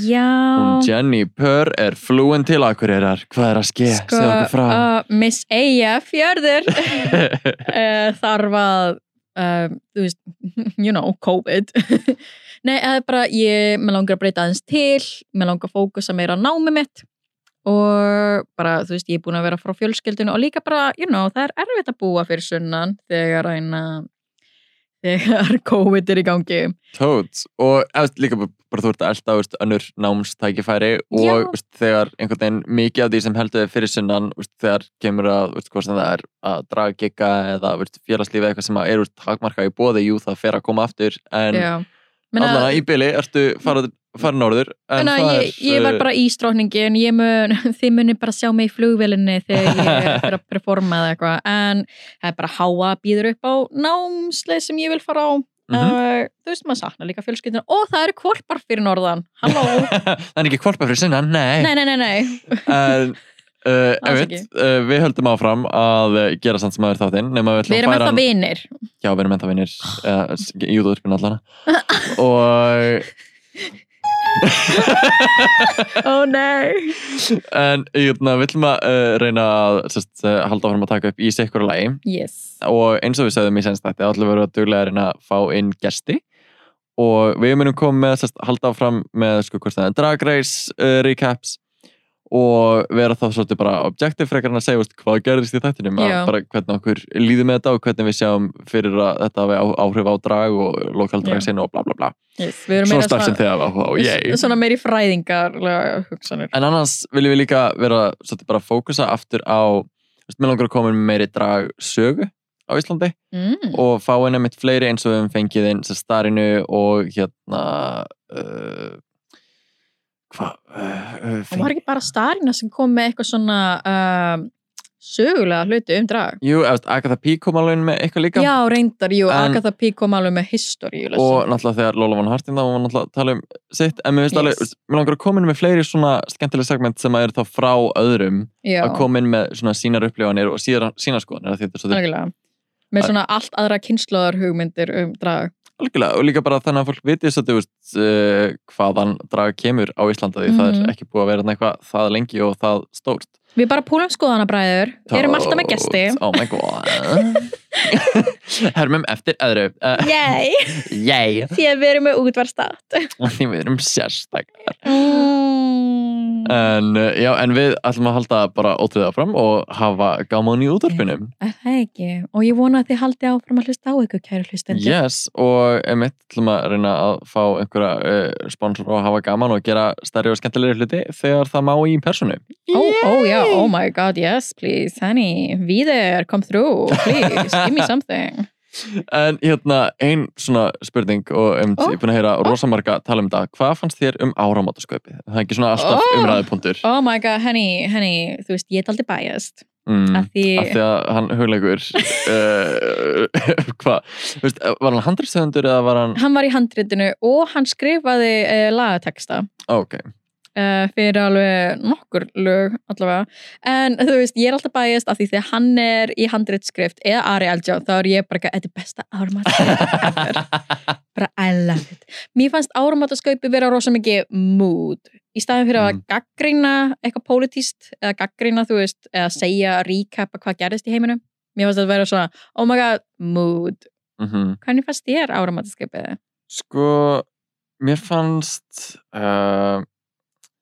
já. Ah. Hún Jenny Purr er flúin til Akureyrar. Hvað er að ske? Sko, Segð okkur frá. uh, Miss Eija [LAUGHS] fjörður uh, þarf að uh, þú veist, [LAUGHS] you know, COVID [LAUGHS] Nei, það er bara ég, mér langar að breyta aðeins til mér langar að fókusa meira á námi mitt og bara, þú veist, ég er búin að vera frá fjölskyldinu og líka bara, you know, það er erfitt að búa fyrir sunnan þegar eina þegar [LAUGHS] COVID er í gangi Tóts. Og eftir, líka bara, bara þú ert að elda veist, önnur námstækifæri Já. og veist, þegar einhvern veginn mikið af því sem heldur þið fyrir sunnan veist, þegar kemur að, veist, hvað sem það er að draga gigga eða veist, félagslífi eða eitthvað sem að er veist, takmarka í bóði, jú það fer að koma aftur en Já. Meina- allan að í byli ertu farað fara norður en Þannig það að er, ég, ég var uh, bara ístrókningi en ég mun, [LAUGHS] þið munir bara sjá mig í flugvélinni þegar ég [LAUGHS] fyrir að performa eða eitthvað en það er bara háa býður upp á námsleið sem ég vil fara á mhm. uh, þú veist maður sakna líka fjölskyldina og það eru kvolpar fyrir norðan halló, [LAUGHS] það er ekki kvolpa fyrir sunnan, nei nei nei nei nei [LAUGHS] en uh, Alls einmitt, ekki. uh, við höldum áfram að uh, gera samt sem aður þáttinn nema við við ætlum erum að færa alltaf hann vinir já, við erum ennþá vinnir uh, í útvarpinu allana og ó nei en jötna, við ætlum að uh, reyna að sest, uh, halda áfram að taka upp í sikkur lagi yes, og eins og við sagðum í senstætti ætlum við að vera duglega að reyna að fá inn gesti og við munum koma með sest, halda áfram með sko, hvort það er drag race uh, recaps og vera þá svolítið bara objektiv frekar en að segja veist, hvað gerðist í þættinum að Já. bara hvernig okkur líðum með þetta og hvernig við sjáum fyrir að þetta hafi á- áhrif á drag og lokal drag sinu og bla bla bla yes. við erum svona meira starf sem þið hafa áhuga á, yay svona meiri fræðingarlega hugsanir en annars viljum við líka vera svolítið bara að fókusa aftur á veist, mér langar að koma með meiri drag sögu á Íslandi mm. og fá inn einmitt fleiri eins og við höfum fengið inn sem starinu og hérna uh, hvað uh, uh, og var ekki bara starina sem kom með eitthvað svona um, sögulega hluti um drag Jú, eftir Agatha P. kom alveg inn með eitthvað líka Já, reyndar, jú, En- Agatha P. kom alveg með historíu og náttúrulega þegar Lola von Hartin þá var hún náttúrulega að tala um sitt en mér finnst Yes. alveg, mér langar að koma inn með fleiri svona skemmtileg segment sem að er þá frá öðrum Já, að koma inn með svona sínar upplifanir og síðar, sínar skoðanir af því þetta er svolítið algjörlega Með svona allt aðra kynnslóðar hugmyndir um drag algjörlega og líka bara þannig að fólk viti svolítið veist, uh, hvaðan drag kemur á Íslanda því það Mhm. er ekki búið að vera þarna eitthvað það lengi og það stórt Við bara púlum skoðanabræður, erum alltaf með gesti Tótt, Oh my god [LAUGHS] Hermum eftir öðru uh, Yay, Yay því að við erum með útvarstátt Því við erum sérstak mm. En uh, já, en við ætlum að halda bara ótrúða fram og hafa gaman í útvarpinu Er Það ekki, og ég vona að þið haldið áfram að hlusta á ykkur kæru hlustendur Yes, og emitt ætlum að reyna að fá einhverja uh, sponsor og hafa gaman og gera stærri og skemmtilegri hluti þegar það má í personu Ó, ó, já, oh my god, yes, please, honey Víðir, come through, please, give [LAUGHS] me something En hérna, ein svona spurning og um, Ó, ég er búin að heyra rosamarga tala um þetta Hvað fannst þér um áramátasköpið? Það er ekki svona alltaf Ó. oh. umræðupunktur Oh my god, honey, honey, þú veist, ég er aldrei biased mm. Af því, af því að hann [LAUGHS] hugleikur uh, [LAUGHS] hvað, þú veist, var hann handriðstöðundur eða var hann, hann var í handritinu og hann skrifaði uh, lagateksta Ó, ok uh, fyrir alveg nokkur lög allavega, en þú veist ég er alltaf bæjast af því þegar hann er í handritskrift eða Ari Eldjá, þá er ég bara eitthvað, þetta er besta áramataskaup ever." bara I love it mér fannst áramataskaupi vera rosa mikið mood, í staðin fyrir að Mm. gaggrina eitthvað pólitíst eða gaggrina, þú veist, eða segja recapa hvað gerðist í heiminum, mér fannst þetta vera svona oh my god, mood Mhm. hvernig fannst þér áramataskaupið? sko, mér fannst [LAUGHS] uh,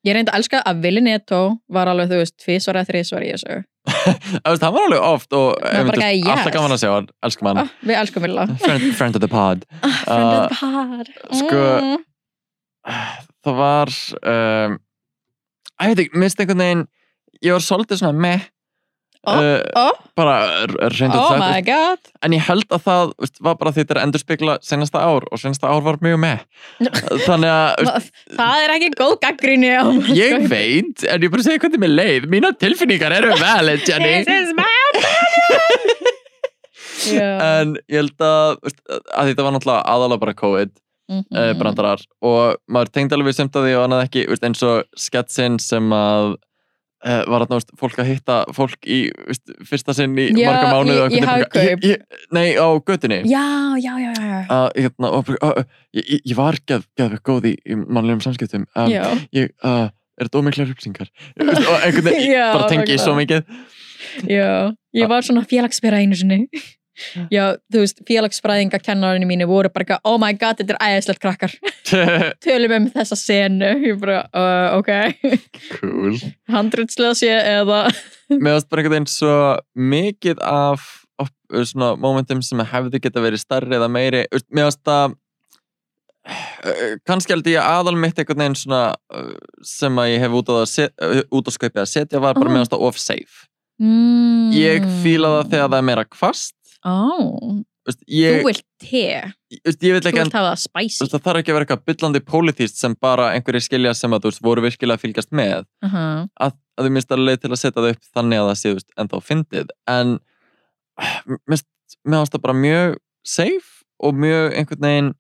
Ég reyndi að elska að Vili Neto var alveg, þú veist, tvísvara, þrísvara í þessu. að veist, hann var alveg oft og Hann einmitt, bara þú veist, gæði, alltaf yes. gaman að sjá hann, elskum hann Ah, við elskum Villa. friend, friend of the pod Ah, Friend of the pod. sko- Mm. það var ehm, um, að ég veit ekki, minnst einhvern veginn ég var svolítið svona meh Ó, uh, ó, bara r- hreint út oh sagt, my god en ég held að það veist, var bara því þetta er að endurspegla senasta ár og senasta ár var mjög með þannig að [LAUGHS] veist, Það er ekki góð gaggrinni á sko. ég veit en ég bara segi hvernig mér leið mína tilfinningar eru vel [LAUGHS] Jenny is my [LAUGHS] opinion en ég held að, veist, að þetta var náttúrulega aðalega bara COVID uh, Mhm. brandarar og maður tengd alveg semt að því og annað ekki veist, eins og sketsinn sem að uh, var að veist, fólk að hitta fólk í veist, fyrsta sinn í Já, marga mánuð í- í Hagkaup. nei, á göttinni Já, já, já, já að hérna, og, uh, ég, ég- ég var geð, geðveg góð í, í mannlegum samskiptum um, Já, ég uh, er dómiklar upplýsingar Þú veist, og einhvern veginn, [LAUGHS] Já, ég bara tengi nákvæmlega. svo mikið já, Ah. ég var svona félagsbyrra einu sinni Já, þú veist, félagsfræðinga kennarinn mínu voru bara eitthvað, oh my god, þetta er æðislegt krakkar [LAUGHS] [LAUGHS] Tölum um þessa senu Ég bara, uh, ok cool Handritslega sé eða mér varst bara einhvern veginn svo mikið af op, svona momentum sem hefði geta verið starri eða meiri Þú veist, mér varst það kannski held ég aðal mitt einhvern veginn svona uh, sem að ég hef út á, það að set, uh, út á skaupið að setja var bara Ah. mér varst það of safe mm. ég fíla það þegar það er meira kvast Ó, Þú veist, ég, þú vilt te þú veist, ég vil Þú ekki en vilt hafa það þú spicy veist, það þarf ekki að vera eitthvað byllandi pólitíst sem bara einhverjir skilja sem að þú veist voru virkilega að fylgjast með uh -huh. að, að þau minnst að leið til að setja það upp þannig að það sé þú veist, ennþá fyndið en eh, minnst, mér ást það bara mjög safe og mjög einhvern veginn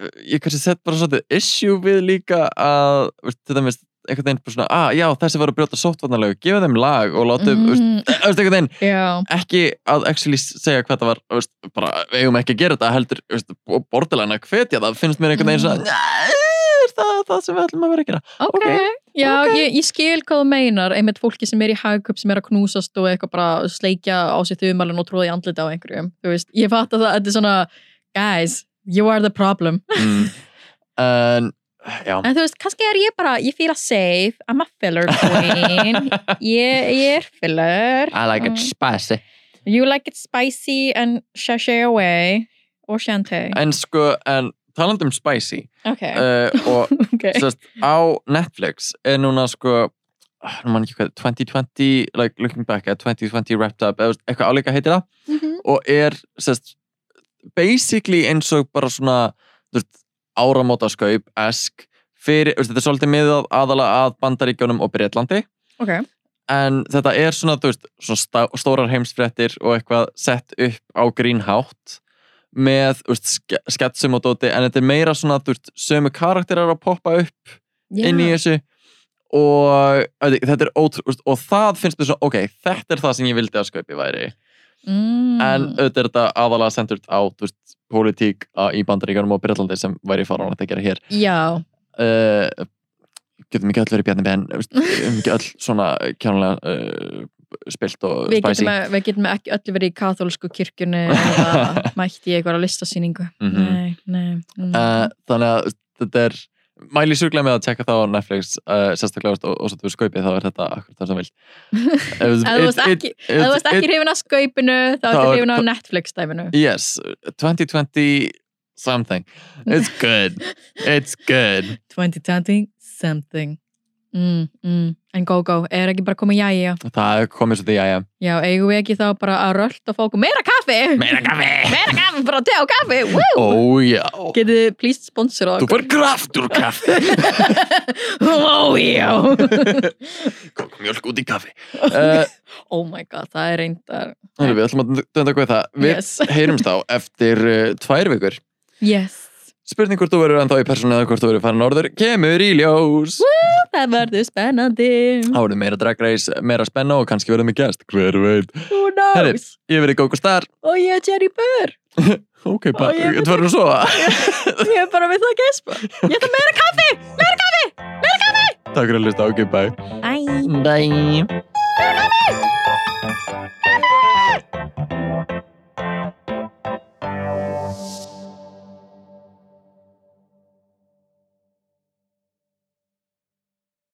eh, ég kannski sett bara svolítið issue við líka að þú veist, þetta minnst einhvern veginn bara svona, að ah, já þessi var að brjóta sóttvarnalegu, gefa þeim lag og látum mm. veist, mm, eh, þú veist, einhvern veginn Já, ekki að actually segja hvað það var þú veist, bara, við eigum ekki að gera þetta heldur þú veist, bortilegna hvetja það finnst mér einhvern veginn Mm. svona "Nei, er það, það sem við ætlum að vera að gera ok, Ok, Já, ok. Ég, ég skil hvað þú meinar einmitt fólki sem er í hagkup sem er að knúsast og eitthvað bara sleikja á sér þumalinn og tróða í andlita á einhverjum Þú veist, ég fatt að það, þetta er svona guys, you are the problem mm. en, já En þú veist, kannski er ég bara, ég fíla safe I'm a filler [LAUGHS] queen ég, ég er filler Mm. spicy You like it spicy and sashay away or shantay en sko, en talandi um spicy Ok, [LAUGHS] uh, og ok sérst, á Netflix er núna sko ah, nú man ekki hvað, 2020 like looking back at 2020 wrapped up eða eitthvað álíka heitir það Mhm. og er sérst, basically eins og bara svona þú veist, áramóta skaup esk fyrir, þú veist, þetta er svolítið miðað aðalega að Bandaríkjónum og Breitlandi Ok, en þetta er svona, þú veist, svona stá, stórar heimsfréttir og eitthvað sett upp á grínhátt með þú veist, ske- sketsum og dóti en þetta er meira svona, þú veist, sömu karakterar að poppa upp inn í Já. þessu og ætli, þetta er ótrú og það finnst mér svona, ok, þetta er það sem ég vildi að skaupi væri mm. en auðvitað er þetta aðalega sendurt á þú veist, pólitík á- í bandaríkjörnum og Breitlandi sem væri faran að gera hér Já, uh, getum ekki öll verið Bjarni Ben þú veist, við getum ekki öll svona kjánulega uh, spilt og við spicy getum, að, við getum ekki öllu verið í katholsku kirkjunni [LAUGHS] eða mætt í einhverja listasýningu Mhm. Nei, nei mm. uh, þannig að þetta er mæli sjúklega með að tjekka það á Netflix uh, sérstaklega veist, og, og svo þú skaupið þá er þetta akkurat það [LAUGHS] sem vilt Eh, Ef Ef þú varst ekki- Ef þú varst ekki hrifin af skaupinu þá ertu Þá er- hrifin af Netflix-dæminu yes, 2020 something it's good, it's good 2020 something mm, mm. En go go, er ekki bara komið jæja það er komið svo því að ég Já, eigum við ekki þá bara að rölt og fóku meira kaffi meira kaffi, Meira kaffi, bara te og kaffi Woo! ó já Getið þið please sponsor Oh, þú okkur fyrir kraft úr kaffi [LAUGHS] Ó, já kom mjölk út í kaffi uh, [LAUGHS] Oh my god, það er reyndar Heyrðu, Við ætlum að dönda hvað það Við Yes, [LAUGHS] heyrumst á eftir uh, tvær vikur yes. Spurning hvort þú verður ennþá í persónu eða hvort þú verður farin norður kemur í ljós Það verður spennandi Þá verður meira dragreis, meira spenna og kannski verður með gest Hver veit Who knows? Herri. Ég verður Góko Star Og ég er Jerry Burr Ok, Ó, ég veit þetta verður svo [LAUGHS] Ég er bara við það að gespa Ég ætla meira kaffi Takk fyrir að hlusta, ok, bye Æ Bye